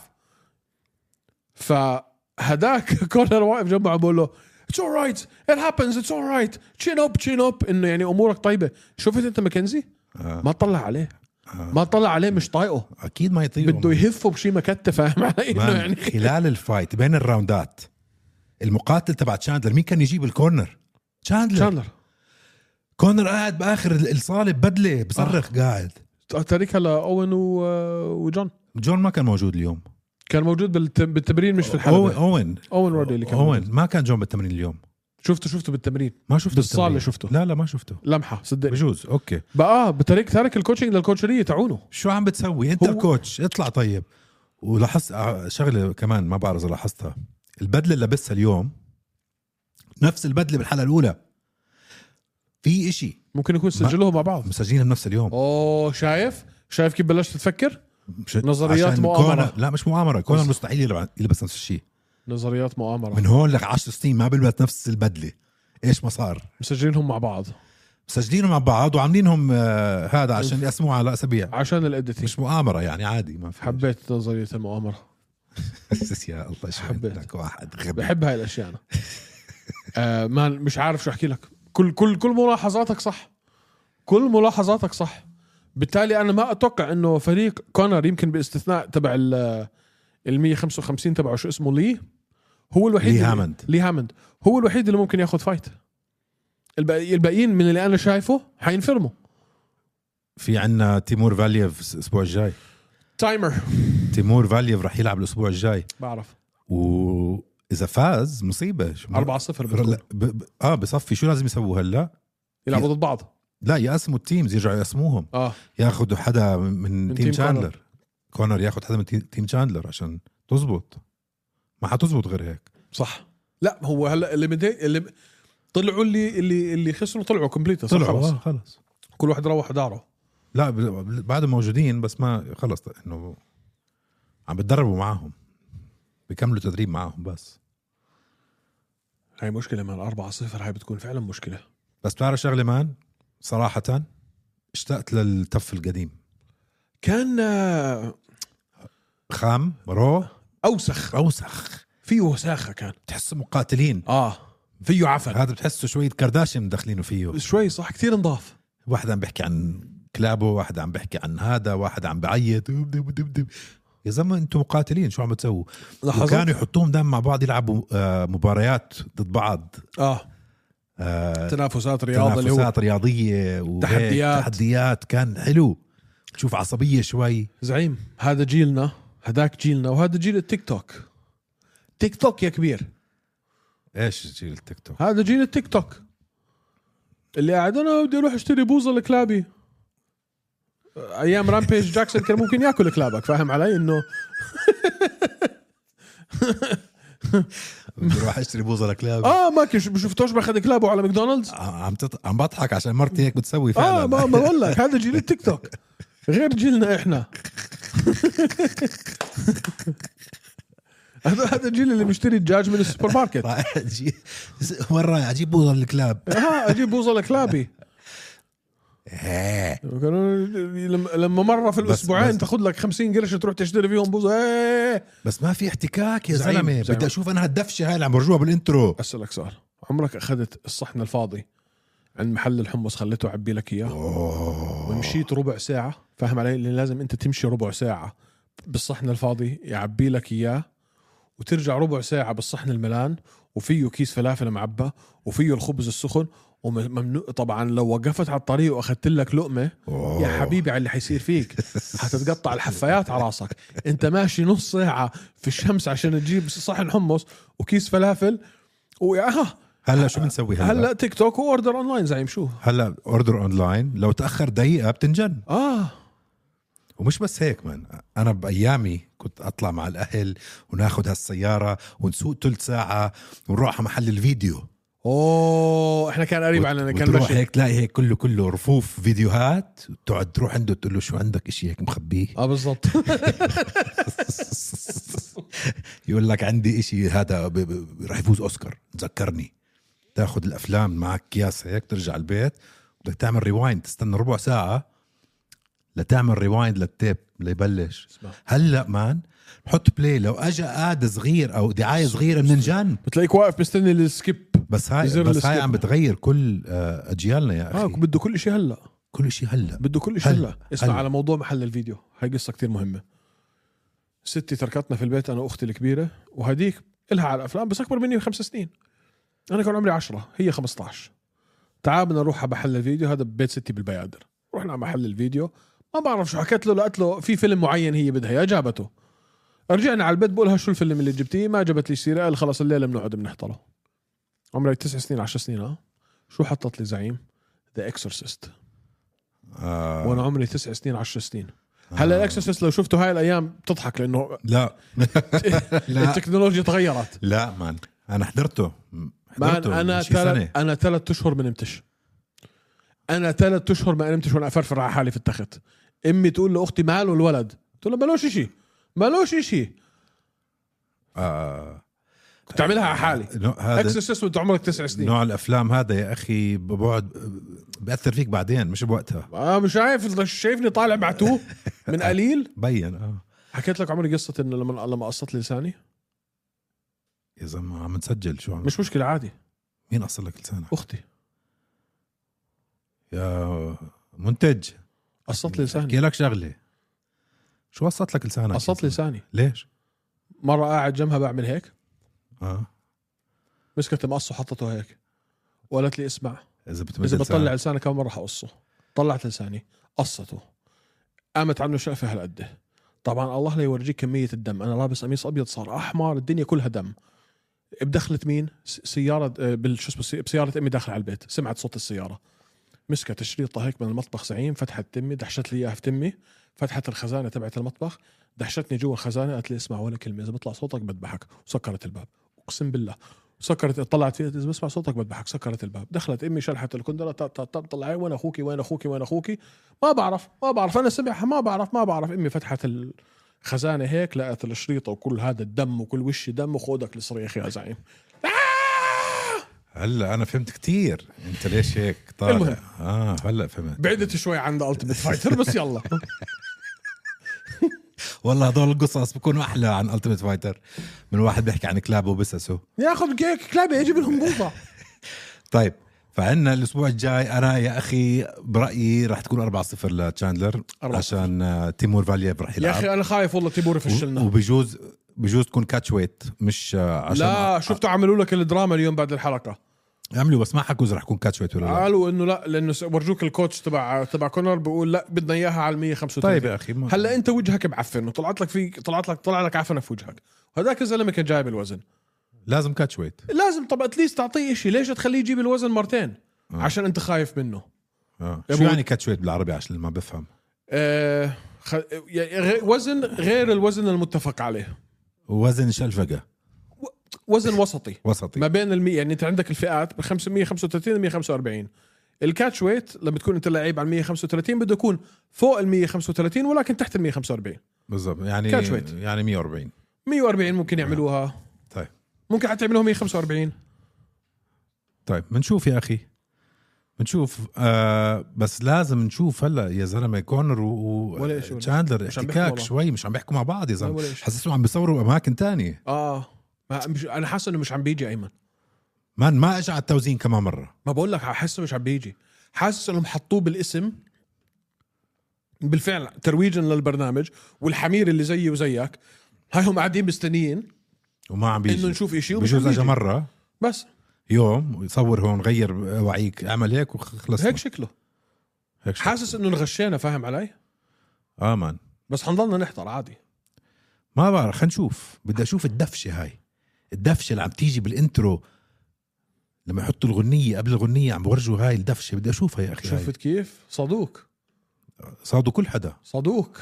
[SPEAKER 2] فهداك *laughs* كونر واقف جنبه عم بقول له اتس اول رايت ات هابنز اتس اول رايت تشين اب تشين اب انه يعني امورك طيبه شفت انت ماكنزي
[SPEAKER 1] آه.
[SPEAKER 2] ما تطلع عليه ما تطلع عليه مش طايقه
[SPEAKER 1] اكيد ما يطيقوا
[SPEAKER 2] بده يهفه بشي مكتة *laughs* فاهم علي انه
[SPEAKER 1] مان
[SPEAKER 2] يعني
[SPEAKER 1] خلال الفايت بين الراوندات المقاتل تبع تشاندلر مين كان يجيب الكورنر؟ تشاندلر,
[SPEAKER 2] تشاندلر
[SPEAKER 1] كورنر قاعد باخر الصاله ببدله
[SPEAKER 2] آه.
[SPEAKER 1] بصرخ قاعد
[SPEAKER 2] تاريخها لاوين و... وجون
[SPEAKER 1] جون ما كان موجود اليوم
[SPEAKER 2] كان موجود بالت- بالتمرين مش في
[SPEAKER 1] اوين
[SPEAKER 2] الحلبة
[SPEAKER 1] اوين
[SPEAKER 2] اوين رودي اللي كان موجود.
[SPEAKER 1] اوين ما كان جون بالتمرين اليوم
[SPEAKER 2] شفته شفته بالتمرين
[SPEAKER 1] ما شفته
[SPEAKER 2] بالصالة
[SPEAKER 1] بالتمرين.
[SPEAKER 2] شفته.
[SPEAKER 1] لا لا ما شفته
[SPEAKER 2] لمحه صدقني
[SPEAKER 1] بجوز اوكي
[SPEAKER 2] بقى اه بتاريخ تارك الكوتشنج للكوتشريه تعونه
[SPEAKER 1] شو عم بتسوي انت
[SPEAKER 2] هو-
[SPEAKER 1] الكوتش اطلع طيب ولاحظت آه، شغله كمان ما بعرف اذا لاحظتها البدله اللي لابسها اليوم نفس البدله بالحلقه الاولى في اشي
[SPEAKER 2] ممكن يكون سجلوه مع بعض
[SPEAKER 1] مسجلينها بنفس اليوم
[SPEAKER 2] اوه شايف شايف كيف بلشت تفكر
[SPEAKER 1] مش
[SPEAKER 2] نظريات
[SPEAKER 1] عشان
[SPEAKER 2] مؤامرة.
[SPEAKER 1] كونر- لا مش مؤامره كونر مستحيل يلعب- يلبس نفس الشيء
[SPEAKER 2] نظريات مؤامره
[SPEAKER 1] من هون لك 10 سنين ما بيلبس نفس البدله ايش ما صار
[SPEAKER 2] مسجلينهم مع بعض
[SPEAKER 1] مسجلينهم مع بعض وعاملينهم آه هذا عشان يقسموه على اسابيع
[SPEAKER 2] عشان الاديتنج
[SPEAKER 1] مش مؤامره يعني عادي ما في
[SPEAKER 2] حبيت نظريه المؤامره
[SPEAKER 1] حسس يا الله شو
[SPEAKER 2] حبيت.
[SPEAKER 1] عندك واحد غبي
[SPEAKER 2] بحب هاي الاشياء انا *laughs* آه ما مش عارف شو احكي لك كل كل كل ملاحظاتك صح كل ملاحظاتك صح بالتالي انا ما اتوقع انه فريق كونر يمكن باستثناء تبع ال ال 155 تبعه شو اسمه لي هو الوحيد
[SPEAKER 1] لي
[SPEAKER 2] اللي-
[SPEAKER 1] هامند.
[SPEAKER 2] لي هامند هو الوحيد اللي ممكن ياخذ فايت الباقي- الباقيين من اللي انا شايفه حينفرموا
[SPEAKER 1] في عنا تيمور فاليف الاسبوع الجاي
[SPEAKER 2] تايمر
[SPEAKER 1] تيمور فاليف رح يلعب الاسبوع الجاي
[SPEAKER 2] بعرف
[SPEAKER 1] واذا فاز مصيبه شو-
[SPEAKER 2] 4-0 بتكون.
[SPEAKER 1] لا، ب... ب... اه بصفي شو لازم يسووا هلا
[SPEAKER 2] يلعبوا ضد بعض
[SPEAKER 1] لا يقسموا التيمز يرجعوا يقسموهم
[SPEAKER 2] اه
[SPEAKER 1] ياخذوا حدا من, من, من تيم
[SPEAKER 2] تيم كونر.
[SPEAKER 1] شاندلر كونر ياخذ حدا من تي- تيم شاندلر عشان تزبط ما حتزبط غير هيك
[SPEAKER 2] صح لا هو هلا اللي مدي... اللي طلعوا اللي اللي اللي خسروا طلعوا كومبليت
[SPEAKER 1] طلعوا آه، خلص
[SPEAKER 2] كل واحد روح داره
[SPEAKER 1] لا ب- ب- بعد موجودين بس ما خلص انه عم بتدربوا معاهم بيكملوا تدريب معاهم بس
[SPEAKER 2] هاي مشكله من 4 0 هاي بتكون فعلا مشكله
[SPEAKER 1] بس بتعرف شغله مان صراحه اشتقت للتف القديم
[SPEAKER 2] كان آه،
[SPEAKER 1] خام رو
[SPEAKER 2] اوسخ
[SPEAKER 1] اوسخ
[SPEAKER 2] فيه وساخه كان
[SPEAKER 1] بتحسوا مقاتلين
[SPEAKER 2] اه فيه عفن
[SPEAKER 1] هذا بتحسه شويه كارداشيان مدخلينه فيه
[SPEAKER 2] شوي صح كثير انضاف
[SPEAKER 1] واحد عم بيحكي عن كلابه واحد عم بيحكي عن هذا واحد عم بعيط دب دب دب دب. يا زلمه انتم مقاتلين شو عم تسووا
[SPEAKER 2] لحظات
[SPEAKER 1] وكانوا يحطوهم دائما مع بعض يلعبوا آه، مباريات ضد بعض
[SPEAKER 2] اه
[SPEAKER 1] آه،
[SPEAKER 2] تنافسات رياضه اللي هو
[SPEAKER 1] تنافسات رياضيه وهيك
[SPEAKER 2] تحديات.
[SPEAKER 1] تحديات كان حلو تشوف عصبيه شوي
[SPEAKER 2] زعيم هذا جيلنا هذاك جيلنا وهذا جيل التيك توك تيك توك يا كبير
[SPEAKER 1] ايش جيل التيك
[SPEAKER 2] *laughs*
[SPEAKER 1] توك
[SPEAKER 2] هذا جيل التيك توك اللي قاعد انا بدي اروح اشتري بوظه لكلابي ايام رامبيج جاكسون كان ممكن ياكل كلابك فاهم علي انه
[SPEAKER 1] بدي اروح اشتري بوزه لكلاب
[SPEAKER 2] اه ما كش- ما شفتوش باخذ كلابه على ماكدونالدز
[SPEAKER 1] عم تط... عم بضحك عشان مرتي هيك بتسوي فعلا
[SPEAKER 2] اه ما ما بقول لك هذا جيل التيك توك غير جيلنا احنا هذا هذا الجيل اللي بيشتري الدجاج من السوبر
[SPEAKER 1] *laughs*
[SPEAKER 2] ماركت آه،
[SPEAKER 1] راح أجي- مره اجيب بوزه للكلاب
[SPEAKER 2] اه اجيب بوظه لكلابي
[SPEAKER 1] إيه.
[SPEAKER 2] كانوا لما- لما مره في الاسبوعين
[SPEAKER 1] بس-
[SPEAKER 2] تاخذ لك 50 قرش تروح تشتري فيهم بوظه إيه.
[SPEAKER 1] بس ما في احتكاك يا
[SPEAKER 2] زعيم،
[SPEAKER 1] زلمه
[SPEAKER 2] زعيم.
[SPEAKER 1] بدي اشوف انا هالدفشه هاي اللي عم برجوها بالانترو
[SPEAKER 2] اسالك سؤال عمرك اخذت الصحن الفاضي عند محل الحمص خليته يعبي لك اياه ومشيت ربع ساعه فاهم علي اللي لازم انت تمشي ربع ساعه بالصحن الفاضي يعبي لك اياه وترجع ربع ساعه بالصحن الملان وفيه كيس فلافل معبى وفيه الخبز السخن وممنوع طبعا لو وقفت على الطريق واخذت لك لقمه يا حبيبي على اللي حيصير فيك حتتقطع الحفايات على راسك انت ماشي نص ساعه في الشمس عشان تجيب صحن حمص وكيس فلافل ويا آه،
[SPEAKER 1] *laughs* هلا شو بنسوي هلا
[SPEAKER 2] هلا تيك توك واوردر اونلاين زعيم شو
[SPEAKER 1] هلا اوردر اونلاين لو تاخر دقيقه بتنجن
[SPEAKER 2] اه
[SPEAKER 1] ومش بس هيك من انا بايامي كنت اطلع مع الاهل وناخذ هالسياره ونسوق ثلث ساعه ونروح على محل الفيديو
[SPEAKER 2] اوه احنا كان قريب
[SPEAKER 1] وت-
[SPEAKER 2] علينا كان
[SPEAKER 1] وتروح
[SPEAKER 2] ماشي
[SPEAKER 1] هيك تلاقي هيك كله كله رفوف فيديوهات تقعد تروح عنده تقول له شو عندك اشي هيك مخبيه
[SPEAKER 2] اه بالضبط
[SPEAKER 1] *laughs* يقول لك عندي اشي هذا ب- ب- رح يفوز اوسكار تذكرني تاخذ الافلام معك كياس هيك ترجع البيت بدك تعمل ريوايند تستنى ربع ساعه لتعمل ريوايند للتيب ليبلش
[SPEAKER 2] اسمع.
[SPEAKER 1] هلا مان حط بلاي لو اجى اد صغير او دعايه صغيره من جان
[SPEAKER 2] بتلاقيك واقف مستني السكيب
[SPEAKER 1] بس هاي
[SPEAKER 2] يزر
[SPEAKER 1] بس هاي
[SPEAKER 2] السكيب.
[SPEAKER 1] عم بتغير كل آه، اجيالنا يا
[SPEAKER 2] اه
[SPEAKER 1] اخي
[SPEAKER 2] بده كل شيء هلا
[SPEAKER 1] كل شيء هلا
[SPEAKER 2] بده كل شيء
[SPEAKER 1] هلا،
[SPEAKER 2] هلا اسمع
[SPEAKER 1] هلا.
[SPEAKER 2] على موضوع محل الفيديو هاي قصه كتير مهمه ستي تركتنا في البيت انا واختي الكبيره وهديك إلها على الافلام بس اكبر مني بخمس سنين انا كان عمري عشرة هي 15 تعال بدنا نروح على محل الفيديو هذا ببيت ستي بالبيادر رحنا على محل الفيديو ما بعرف شو حكيت له لقيت له في فيلم معين هي بدها اياه جابته رجعنا على البيت بقولها شو الفيلم اللي جبتيه ما جابت لي سيره قال خلص الليله بنقعد بنحضره عمري تسع سنين عشر سنين اه شو حطت لي زعيم ذا اكسورسيست
[SPEAKER 1] آه
[SPEAKER 2] وانا عمري تسع سنين عشر سنين هلا الاكسسوارز لو شفته هاي الايام بتضحك لانه
[SPEAKER 1] لا *laughs* لا
[SPEAKER 2] التكنولوجيا تغيرت
[SPEAKER 1] لا مان انا حضرته
[SPEAKER 2] مان
[SPEAKER 1] حضرته
[SPEAKER 2] انا
[SPEAKER 1] من شي سنة.
[SPEAKER 2] ثلاث انا ثلاث اشهر ما نمتش انا ثلاث اشهر ما نمتش وانا افرفر على حالي في التخت امي تقول لاختي ماله الولد تقول لها مالوش شيء مالوش شيء
[SPEAKER 1] آه
[SPEAKER 2] كنت اعملها على حالي
[SPEAKER 1] نوع- هذا
[SPEAKER 2] اكسسوارز وانت عمرك تسع سنين
[SPEAKER 1] نوع الافلام هذا يا اخي بقعد آه، بأثر فيك بعدين مش بوقتها
[SPEAKER 2] آه مش عارف شايفني طالع
[SPEAKER 1] *laughs*
[SPEAKER 2] معتوه من قليل
[SPEAKER 1] بين
[SPEAKER 2] آه.
[SPEAKER 1] اه
[SPEAKER 2] حكيت لك عمري قصه انه لما لما قصت لي لساني
[SPEAKER 1] يا زلمه عم نسجل شو عم
[SPEAKER 2] مش مشكله عادي
[SPEAKER 1] مين اصل لك لسانك
[SPEAKER 2] اختي
[SPEAKER 1] يا منتج
[SPEAKER 2] قصت لي لساني
[SPEAKER 1] احكي لك شغله شو وصلت لك لسانك
[SPEAKER 2] قصت لي لساني
[SPEAKER 1] ليش؟
[SPEAKER 2] مره قاعد جنبها بعمل هيك
[SPEAKER 1] اه
[SPEAKER 2] مسكت مقص وحطته هيك وقالت لي اسمع
[SPEAKER 1] اذا بتمد
[SPEAKER 2] اذا
[SPEAKER 1] لسانك.
[SPEAKER 2] بطلع لساني كم مره حقصه طلعت لساني قصته قامت عامله شقفه هالقد طبعا الله لا يورجيك كميه الدم انا لابس قميص ابيض صار احمر الدنيا كلها دم بدخلت مين س- سياره آه، بال- شو اسمه سي- بسياره امي داخله على البيت سمعت صوت السياره مسكت شريطه هيك من المطبخ زعيم فتحت تمي دحشت لي اياها في تمي فتحت الخزانه تبعت المطبخ دحشتني جوا الخزانه قالت لي اسمع ولا كلمه اذا بيطلع صوتك بذبحك وسكرت الباب اقسم بالله سكرت طلعت فيها اذا بسمع صوتك بذبحك سكرت الباب دخلت امي شلحت الكندره طب طب طب طلعي وين اخوكي وين اخوكي وين اخوكي ما بعرف ما بعرف انا سمعها ما بعرف ما بعرف امي فتحت الخزانه هيك لقت الشريطه وكل هذا الدم وكل وشي دم وخودك الصريخ يا زعيم
[SPEAKER 1] هلا انا فهمت كتير انت ليش هيك طالع
[SPEAKER 2] المهم.
[SPEAKER 1] اه هلا فهمت
[SPEAKER 2] بعدت شوي عن التيمت فايتر
[SPEAKER 1] *laughs*
[SPEAKER 2] بس يلا
[SPEAKER 1] والله هدول القصص بكونوا احلى عن التيمت فايتر من واحد بيحكي عن كلابه وبسسه
[SPEAKER 2] ياخذ كيك كلابه يجيب لهم بوطه
[SPEAKER 1] طيب فعندنا الاسبوع الجاي انا يا اخي برايي راح تكون 4-0 لتشاندلر
[SPEAKER 2] 4-0.
[SPEAKER 1] عشان آه، تيمور فالييف راح
[SPEAKER 2] يا
[SPEAKER 1] يلعب
[SPEAKER 2] اخي انا خايف والله تيمور
[SPEAKER 1] و-
[SPEAKER 2] يفشلنا
[SPEAKER 1] وبجوز بجوز تكون كاتش ويت مش آه، عشان
[SPEAKER 2] لا شفتوا عملوا لك الدراما اليوم بعد الحلقه
[SPEAKER 1] عملوا بس ما حكوا اذا راح يكون كاتش ويت ولا لا
[SPEAKER 2] قالوا انه لا لانه س- ورجوك الكوتش تبع تبع كونر بيقول لا بدنا اياها على ال 135
[SPEAKER 1] طيب يا اخي ما-
[SPEAKER 2] هلا انت وجهك معفن وطلعت لك في طلعت لك طلع لك عفنه في وجهك هذاك الزلمه كان جايب الوزن
[SPEAKER 1] لازم كاتش ويت
[SPEAKER 2] لازم طب اتليست تعطيه شيء ليش تخليه يجيب الوزن مرتين عشان انت خايف منه
[SPEAKER 1] آه.
[SPEAKER 2] يا
[SPEAKER 1] شو
[SPEAKER 2] أبو-
[SPEAKER 1] يعني كاتش ويت بالعربي عشان اللي ما بفهم
[SPEAKER 2] آه خ... يعني غ- وزن غير الوزن المتفق عليه
[SPEAKER 1] وزن شلفقه
[SPEAKER 2] وزن وسطي
[SPEAKER 1] وسطي
[SPEAKER 2] ما بين ال 100 يعني انت عندك الفئات ب 535 ل 145 الكاتش ويت لما تكون انت لعيب على 135 بده يكون فوق ال 135 ولكن تحت ال 145
[SPEAKER 1] بالضبط يعني
[SPEAKER 2] كاتش ويت.
[SPEAKER 1] يعني 140
[SPEAKER 2] 140 ممكن يعملوها
[SPEAKER 1] طيب
[SPEAKER 2] ممكن حتى يعملوها 145
[SPEAKER 1] طيب بنشوف يا اخي بنشوف آه بس لازم نشوف هلا يا زلمه كونر
[SPEAKER 2] ولا إشي ولا
[SPEAKER 1] وتشاندلر
[SPEAKER 2] مش عم
[SPEAKER 1] احتكاك
[SPEAKER 2] بيحكوا
[SPEAKER 1] شوي مش عم بيحكوا مع بعض يا
[SPEAKER 2] ولا
[SPEAKER 1] زلمه
[SPEAKER 2] إشي.
[SPEAKER 1] حسيتهم عم بيصوروا اماكن تانية
[SPEAKER 2] اه ما مش انا حاسس انه مش عم بيجي ايمن
[SPEAKER 1] مان ما اجى على التوزين كمان مره
[SPEAKER 2] ما بقول لك حاسه مش عم بيجي حاسس انهم حطوه بالاسم بالفعل ترويجا للبرنامج والحمير اللي زيي وزيك هاي هم قاعدين مستنيين
[SPEAKER 1] وما عم بيجي
[SPEAKER 2] انه نشوف شيء
[SPEAKER 1] بجوز اجى مره
[SPEAKER 2] بس
[SPEAKER 1] يوم ويصور هون غير وعيك عمل هيك وخلص
[SPEAKER 2] هيك شكله
[SPEAKER 1] هيك شكل.
[SPEAKER 2] حاسس انه انغشينا فاهم علي
[SPEAKER 1] اه مان
[SPEAKER 2] بس حنضلنا نحضر عادي
[SPEAKER 1] ما بعرف خلينا نشوف بدي اشوف الدفشه هاي الدفشه اللي عم تيجي بالانترو لما يحطوا الغنيه قبل الغنيه عم بورجوا هاي الدفشه بدي اشوفها يا اخي هاي.
[SPEAKER 2] شفت كيف صدوق
[SPEAKER 1] صادوا كل حدا
[SPEAKER 2] صدوق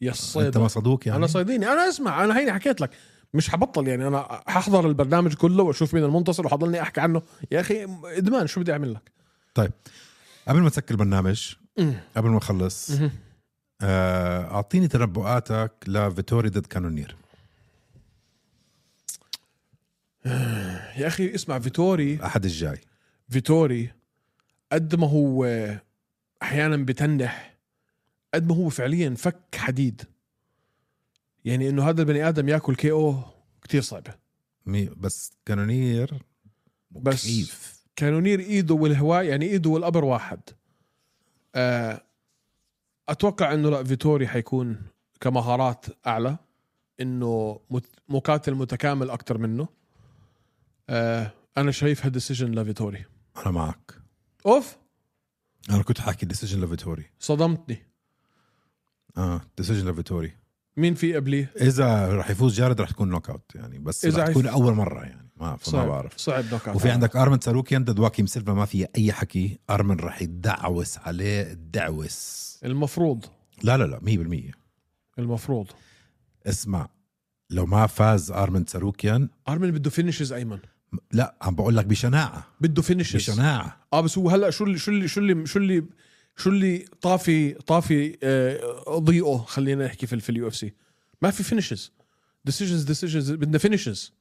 [SPEAKER 2] يا
[SPEAKER 1] انت ما
[SPEAKER 2] الصيد
[SPEAKER 1] صادوك يعني
[SPEAKER 2] انا صيديني انا اسمع انا هيني حكيت لك مش حبطل يعني انا ححضر البرنامج كله واشوف مين المنتصر وحضلني احكي عنه يا اخي ادمان شو بدي اعمل لك
[SPEAKER 1] طيب قبل ما نسكر البرنامج
[SPEAKER 2] مم.
[SPEAKER 1] قبل ما نخلص
[SPEAKER 2] مهم.
[SPEAKER 1] آه، اعطيني تنبؤاتك لفيتوري ضد كانونير
[SPEAKER 2] يا اخي اسمع فيتوري
[SPEAKER 1] الاحد الجاي
[SPEAKER 2] فيتوري قد ما هو احيانا بتنح قد ما هو فعليا فك حديد يعني انه هذا البني ادم ياكل كي او كثير صعبه
[SPEAKER 1] مي بس كانونير
[SPEAKER 2] بس-
[SPEAKER 1] مخيف.
[SPEAKER 2] كانونير ايده والهواء يعني ايده والابر واحد آه، اتوقع انه لا فيتوري حيكون كمهارات اعلى انه مت- مقاتل متكامل اكثر منه آه، انا شايفها ديسيجن لفيتوري
[SPEAKER 1] انا معك
[SPEAKER 2] اوف
[SPEAKER 1] انا كنت حاكي ديسيجن لفيتوري
[SPEAKER 2] صدمتني
[SPEAKER 1] اه ديسيجن لفيتوري
[SPEAKER 2] مين في قبليه
[SPEAKER 1] اذا رح يفوز جارد رح تكون نوك اوت يعني بس
[SPEAKER 2] إذا
[SPEAKER 1] رح تكون
[SPEAKER 2] عف-
[SPEAKER 1] اول مره يعني ما ما
[SPEAKER 2] صعب
[SPEAKER 1] بعرف
[SPEAKER 2] صعب نوك أوت.
[SPEAKER 1] وفي عندك ارمن ساروكيان ضد واكيم سيلفا ما في اي حكي ارمن رح يدعوس عليه الدعوس
[SPEAKER 2] المفروض
[SPEAKER 1] لا لا لا 100%
[SPEAKER 2] المفروض
[SPEAKER 1] اسمع لو ما فاز ارمن ساروكيان
[SPEAKER 2] ارمن بده فينشز ايمن
[SPEAKER 1] لا عم بقول لك بشناعه
[SPEAKER 2] بده فينشز
[SPEAKER 1] بشناعه
[SPEAKER 2] اه بس هو هلا شو اللي شو اللي شو اللي شو اللي شو اللي طافي طافي آه، ضيقه خلينا نحكي في في اليو اف سي ما في فينشز ديسيجنز ديسيجنز بدنا فينشز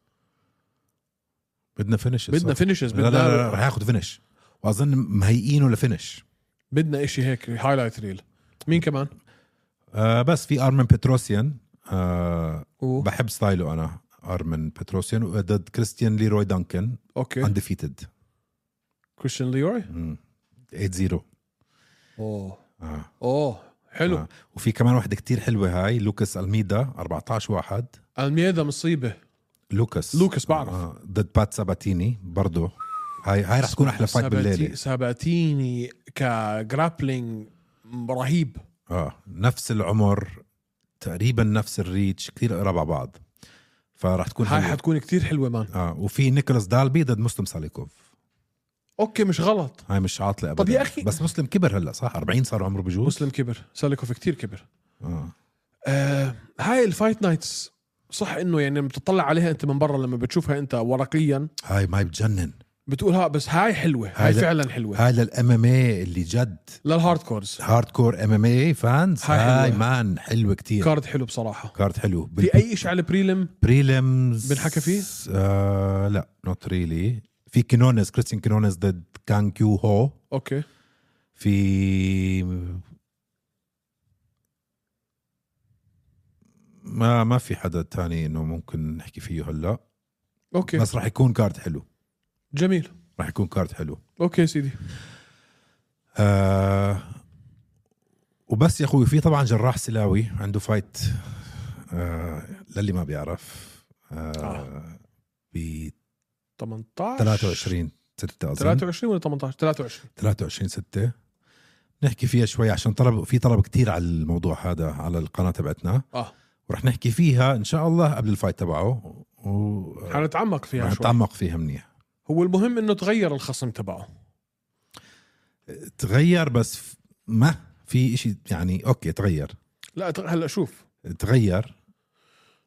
[SPEAKER 1] بدنا فينش
[SPEAKER 2] بدنا فينشز
[SPEAKER 1] لا لا, لا,
[SPEAKER 2] بدنا
[SPEAKER 1] رح ياخذ فينش واظن مهيئينه لفينش
[SPEAKER 2] بدنا شيء هيك هايلايت ريل مين كمان؟
[SPEAKER 1] آه بس في ارمن بتروسيان آه
[SPEAKER 2] أوه.
[SPEAKER 1] بحب ستايله انا ارمن بتروسيان ضد كريستيان ليروي دانكن
[SPEAKER 2] اوكي
[SPEAKER 1] اندفيتد
[SPEAKER 2] كريستيان ليوري
[SPEAKER 1] 8 0
[SPEAKER 2] اوه
[SPEAKER 1] آه.
[SPEAKER 2] اوه حلو
[SPEAKER 1] آه. وفي كمان واحده كتير حلوه هاي لوكاس الميدا 14 واحد
[SPEAKER 2] الميدا مصيبه
[SPEAKER 1] لوكاس آه،
[SPEAKER 2] لوكاس بعرف.
[SPEAKER 1] ضد بات ساباتيني برضه هاي هاي رح تكون احلى فايت
[SPEAKER 2] ساباتي-
[SPEAKER 1] بالليله
[SPEAKER 2] ساباتيني كجرابلينج رهيب
[SPEAKER 1] اه نفس العمر تقريبا نفس الريتش كتير قراب على بعض فرح تكون
[SPEAKER 2] هاي
[SPEAKER 1] حلوة.
[SPEAKER 2] حتكون كتير حلوه مان
[SPEAKER 1] اه وفي نيكولاس دالبي ضد مسلم ساليكوف
[SPEAKER 2] اوكي مش غلط
[SPEAKER 1] هاي مش عاطله ابدا
[SPEAKER 2] طب يا أخي-
[SPEAKER 1] بس مسلم كبر هلا صح 40 صار عمره بجوز
[SPEAKER 2] مسلم كبر سالكوف كتير كبر
[SPEAKER 1] آه.
[SPEAKER 2] آه هاي الفايت نايتس صح انه يعني لما بتطلع عليها انت من برا لما بتشوفها انت ورقيا
[SPEAKER 1] هاي ما بتجنن
[SPEAKER 2] بتقول ها بس هاي حلوه هاي,
[SPEAKER 1] هاي لا-
[SPEAKER 2] فعلا حلوه
[SPEAKER 1] هاي للام ام اي اللي جد
[SPEAKER 2] للهارد كورز
[SPEAKER 1] هارد كور ام ام اي فانز
[SPEAKER 2] هاي
[SPEAKER 1] هاي,
[SPEAKER 2] حلوة.
[SPEAKER 1] مان حلوه كتير كارد,
[SPEAKER 2] كارد حلو بصراحه
[SPEAKER 1] كارد حلو
[SPEAKER 2] في اي شيء على البريلم
[SPEAKER 1] بريلمز
[SPEAKER 2] بنحكى فيه؟
[SPEAKER 1] آه لا نوت ريلي في كينونز كريستيان كينونز ضد كان كيو هو
[SPEAKER 2] اوكي
[SPEAKER 1] في ما ما في حدا تاني انه ممكن نحكي فيه هلا
[SPEAKER 2] اوكي بس.
[SPEAKER 1] بس راح يكون كارد حلو
[SPEAKER 2] جميل
[SPEAKER 1] راح يكون كارد حلو
[SPEAKER 2] اوكي سيدي
[SPEAKER 1] آه وبس يا اخوي في طبعا جراح سلاوي عنده فايت آه للي ما بيعرف آه
[SPEAKER 2] آه.
[SPEAKER 1] ب
[SPEAKER 2] 18
[SPEAKER 1] 23 6 اظن
[SPEAKER 2] 23 ولا 18 23
[SPEAKER 1] 23 6 نحكي فيها شوي عشان طلب في طلب كتير على الموضوع هذا على القناه تبعتنا
[SPEAKER 2] اه
[SPEAKER 1] ورح نحكي فيها ان شاء الله قبل الفايت تبعه و رح
[SPEAKER 2] حنتعمق فيها شوي
[SPEAKER 1] نتعمق فيها منيح
[SPEAKER 2] هو المهم انه تغير الخصم تبعه
[SPEAKER 1] تغير بس ف- ما في شيء يعني اوكي تغير
[SPEAKER 2] لا تغ- هلا شوف
[SPEAKER 1] تغير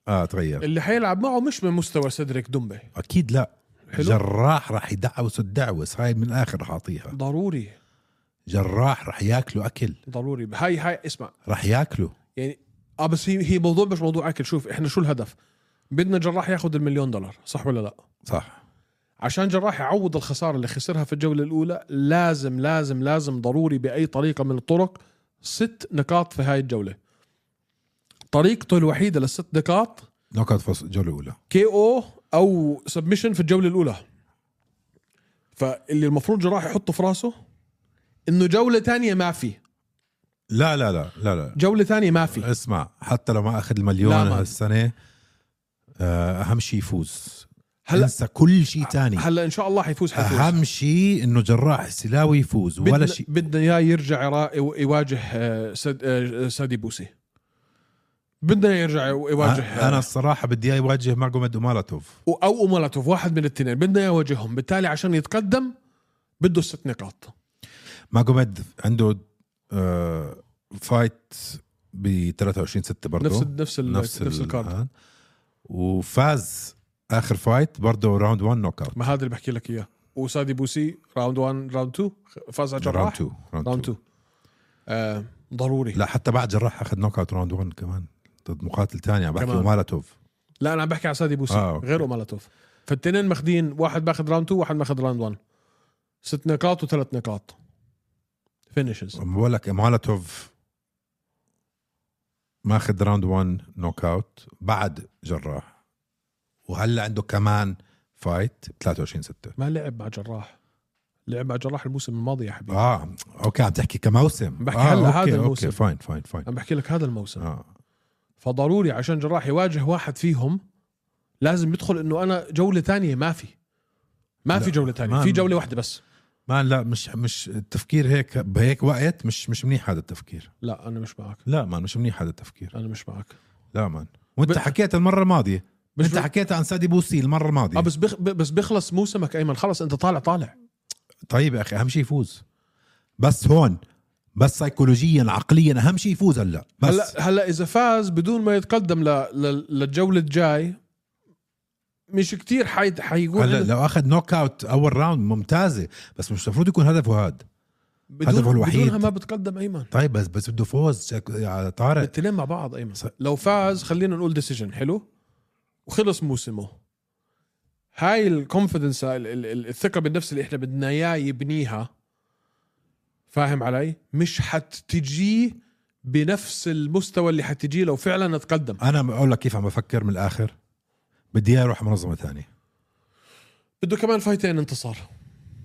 [SPEAKER 1] اه تغير
[SPEAKER 2] اللي حيلعب معه مش من مستوى سيدريك دومبي
[SPEAKER 1] اكيد لا
[SPEAKER 2] حلو.
[SPEAKER 1] حلو. جراح رح يدعوس الدعوس هاي من الاخر رح اعطيها
[SPEAKER 2] ضروري
[SPEAKER 1] جراح رح ياكله اكل
[SPEAKER 2] ضروري هاي هاي اسمع
[SPEAKER 1] رح ياكله
[SPEAKER 2] يعني اه بس هي هي موضوع مش موضوع اكل شوف احنا شو الهدف بدنا جراح ياخذ المليون دولار صح ولا لا
[SPEAKER 1] صح
[SPEAKER 2] عشان جراح يعوض الخساره اللي خسرها في الجوله الاولى لازم لازم لازم ضروري باي طريقه من الطرق ست نقاط في هاي الجوله طريقته الوحيده للست نقاط
[SPEAKER 1] نوك اوت فوز الجوله الاولى
[SPEAKER 2] كي او او سبمشن في الجوله الاولى فاللي المفروض جراح يحطه في راسه انه جوله تانية ما في
[SPEAKER 1] لا لا لا لا لا
[SPEAKER 2] جوله تانية ما في
[SPEAKER 1] اسمع حتى لو ما اخذ
[SPEAKER 2] لا،
[SPEAKER 1] المليون
[SPEAKER 2] ما-
[SPEAKER 1] هالسنه آه، اهم شيء يفوز
[SPEAKER 2] هلا-
[SPEAKER 1] هلا انسى كل شيء تاني
[SPEAKER 2] هلا ان شاء الله حيفوز حيفوز
[SPEAKER 1] اهم شيء انه جراح السلاوي يفوز
[SPEAKER 2] بدنا-
[SPEAKER 1] ولا شيء
[SPEAKER 2] بدنا اياه يرجع يرا- يو- يواجه آه، سد- آه، سادي بوسي بدنا إياه يرجع يو- يواجه آه،
[SPEAKER 1] انا الصراحه بدي اياه يواجه ماجوميد ومالاتوف
[SPEAKER 2] او مولاتوف واحد من الاثنين بدنا إياه يواجههم بالتالي عشان يتقدم بده ست نقاط
[SPEAKER 1] ماجوميد عنده آه فايت ب 23 6 برضه
[SPEAKER 2] نفس ال- نفس ال- نفس الكارد.
[SPEAKER 1] الآن. آه. وفاز اخر فايت برضه راوند 1 نوك اوت
[SPEAKER 2] ما هذا اللي بحكي لك اياه وسادي بوسي راوند 1 راوند 2 فاز على جراح
[SPEAKER 1] راوند 2
[SPEAKER 2] راوند 2 آه ضروري
[SPEAKER 1] لا حتى بعد جراح اخذ نوك اوت راوند 1 كمان ضد مقاتل يعني ثاني عم بحكي
[SPEAKER 2] كمان.
[SPEAKER 1] مالاتوف
[SPEAKER 2] لا انا عم بحكي على سادي بوسي
[SPEAKER 1] آه،
[SPEAKER 2] آه،
[SPEAKER 1] أوكي.
[SPEAKER 2] غير اومالاتوف فالتنين ماخذين واحد ماخذ راوند 2 واحد ماخذ راوند 1 ست نقاط وثلاث نقاط فينيشز
[SPEAKER 1] بقول لك مالاتوف ماخذ راوند 1 نوك اوت بعد جراح وهلا عنده كمان فايت 23 6
[SPEAKER 2] ما لعب مع جراح لعب مع جراح الموسم الماضي يا حبيبي
[SPEAKER 1] اه اوكي عم تحكي كموسم
[SPEAKER 2] بحكي
[SPEAKER 1] آه،
[SPEAKER 2] هلا هذا
[SPEAKER 1] أوكي،
[SPEAKER 2] الموسم.
[SPEAKER 1] اوكي فاين فاين فاين
[SPEAKER 2] عم بحكي لك هذا الموسم
[SPEAKER 1] اه
[SPEAKER 2] فضروري عشان جراح يواجه واحد فيهم لازم يدخل انه انا جوله ثانيه ما في ما
[SPEAKER 1] لا،
[SPEAKER 2] في جوله ثانيه
[SPEAKER 1] ما-
[SPEAKER 2] في جوله واحده بس
[SPEAKER 1] ما لا مش مش التفكير هيك بهيك وقت مش مش منيح هذا التفكير
[SPEAKER 2] لا انا مش معك
[SPEAKER 1] لا مان مش منيح هذا التفكير
[SPEAKER 2] انا مش معك
[SPEAKER 1] لا مان وانت
[SPEAKER 2] ب-
[SPEAKER 1] حكيت المره الماضيه
[SPEAKER 2] مش
[SPEAKER 1] انت
[SPEAKER 2] ب-
[SPEAKER 1] حكيت عن سادي بوسي المره الماضيه
[SPEAKER 2] اه بس بخ... بس بيخلص موسمك ايمن خلص انت طالع طالع
[SPEAKER 1] طيب يا اخي اهم شيء يفوز بس هون بس سيكولوجيا عقليا اهم شيء يفوز هلا بس
[SPEAKER 2] هلا هلا اذا فاز بدون ما يتقدم ل... ل... للجوله الجاي مش كتير حي... حيقول
[SPEAKER 1] هلا
[SPEAKER 2] عندك-
[SPEAKER 1] لو اخذ نوك اوت اول راوند ممتازه بس مش المفروض يكون هدفه هاد
[SPEAKER 2] بدون...
[SPEAKER 1] هدفه الوحيد.
[SPEAKER 2] بدونها ما بتقدم ايمن
[SPEAKER 1] طيب بس بس بده فوز شك- يا طارق
[SPEAKER 2] الاثنين مع بعض ايمن لو فاز خلينا نقول ديسيجن حلو وخلص موسمه هاي الكونفدنس الثقه بالنفس اللي احنا بدنا اياه يبنيها فاهم علي مش حتجي بنفس المستوى اللي حتجي لو فعلا اتقدم
[SPEAKER 1] انا بقول لك كيف عم بفكر من الاخر بدي اياه يروح منظمه ثانيه
[SPEAKER 2] بده كمان فايتين انتصار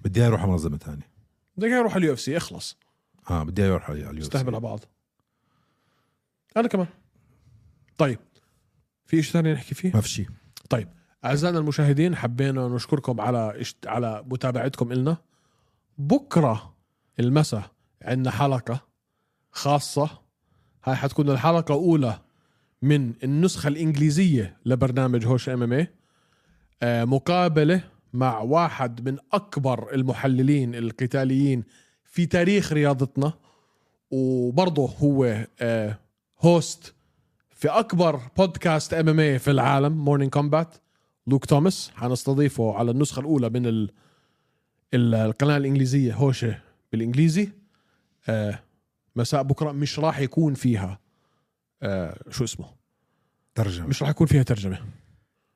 [SPEAKER 1] بدي اياه يروح منظمه ثانيه
[SPEAKER 2] بدك إياه يروح على اليو اف سي اخلص
[SPEAKER 1] اه بدي اياه يروح على اليو
[SPEAKER 2] استهبل على بعض انا كمان طيب في شيء ثاني نحكي فيه
[SPEAKER 1] ما في شيء
[SPEAKER 2] طيب اعزائنا المشاهدين حبينا نشكركم على إشت- على متابعتكم إلنا بكره المساء عندنا حلقه خاصه هاي حتكون الحلقه الاولى من النسخه الانجليزيه لبرنامج هوش ام ام مقابله آه، مع واحد من اكبر المحللين القتاليين في تاريخ رياضتنا وبرضه هو آه، هوست في اكبر بودكاست ام ام في العالم مورنينج كومبات لوك توماس حنستضيفه على النسخه الاولى من ال... ال- القناه الانجليزيه هوشه بالانجليزي آه مساء بكره مش راح يكون فيها آه شو اسمه
[SPEAKER 1] ترجمه
[SPEAKER 2] مش راح يكون فيها ترجمه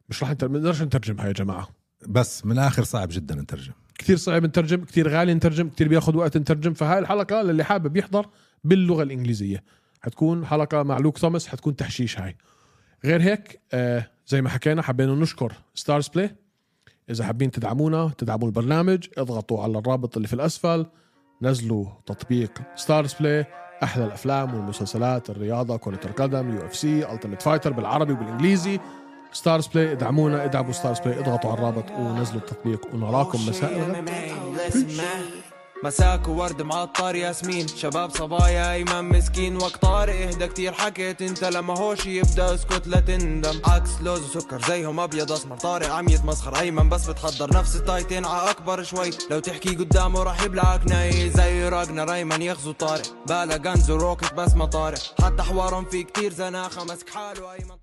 [SPEAKER 2] مش راح نتر- ما نقدرش نترجمها يا جماعه
[SPEAKER 1] بس من الاخر صعب جدا نترجم
[SPEAKER 2] كثير صعب نترجم كثير غالي نترجم كثير بياخذ وقت نترجم فهاي الحلقه للي حابب يحضر باللغه الانجليزيه حتكون حلقه مع لوك توماس حتكون تحشيش هاي غير هيك آه زي ما حكينا حبينا نشكر ستارز بلاي اذا حابين تدعمونا تدعموا البرنامج اضغطوا على الرابط اللي في الاسفل نزلوا تطبيق ستارز بلاي احلى الافلام والمسلسلات الرياضه كره القدم اليو اف سي التيمت فايتر بالعربي وبالانجليزي ستارز بلاي ادعمونا ادعموا ستارز بلاي اضغطوا على الرابط ونزلوا التطبيق ونراكم مساء الغد
[SPEAKER 4] مساك وورد معطر ياسمين شباب صبايا ايمن مسكين وقت طارق اهدى كتير حكيت انت لما هوش يبدا اسكت لا تندم عكس لوز وسكر زيهم ابيض اسمر طارق عم يتمسخر ايمن بس بتحضر نفس التايتين ع اكبر شوي لو تحكي قدامه راح يبلعك ناي زي راجنا ريمان يغزو طارق بالا غنز وروكت بس ما طارق حتى حوارهم في كتير زناخه مسك حاله ايمن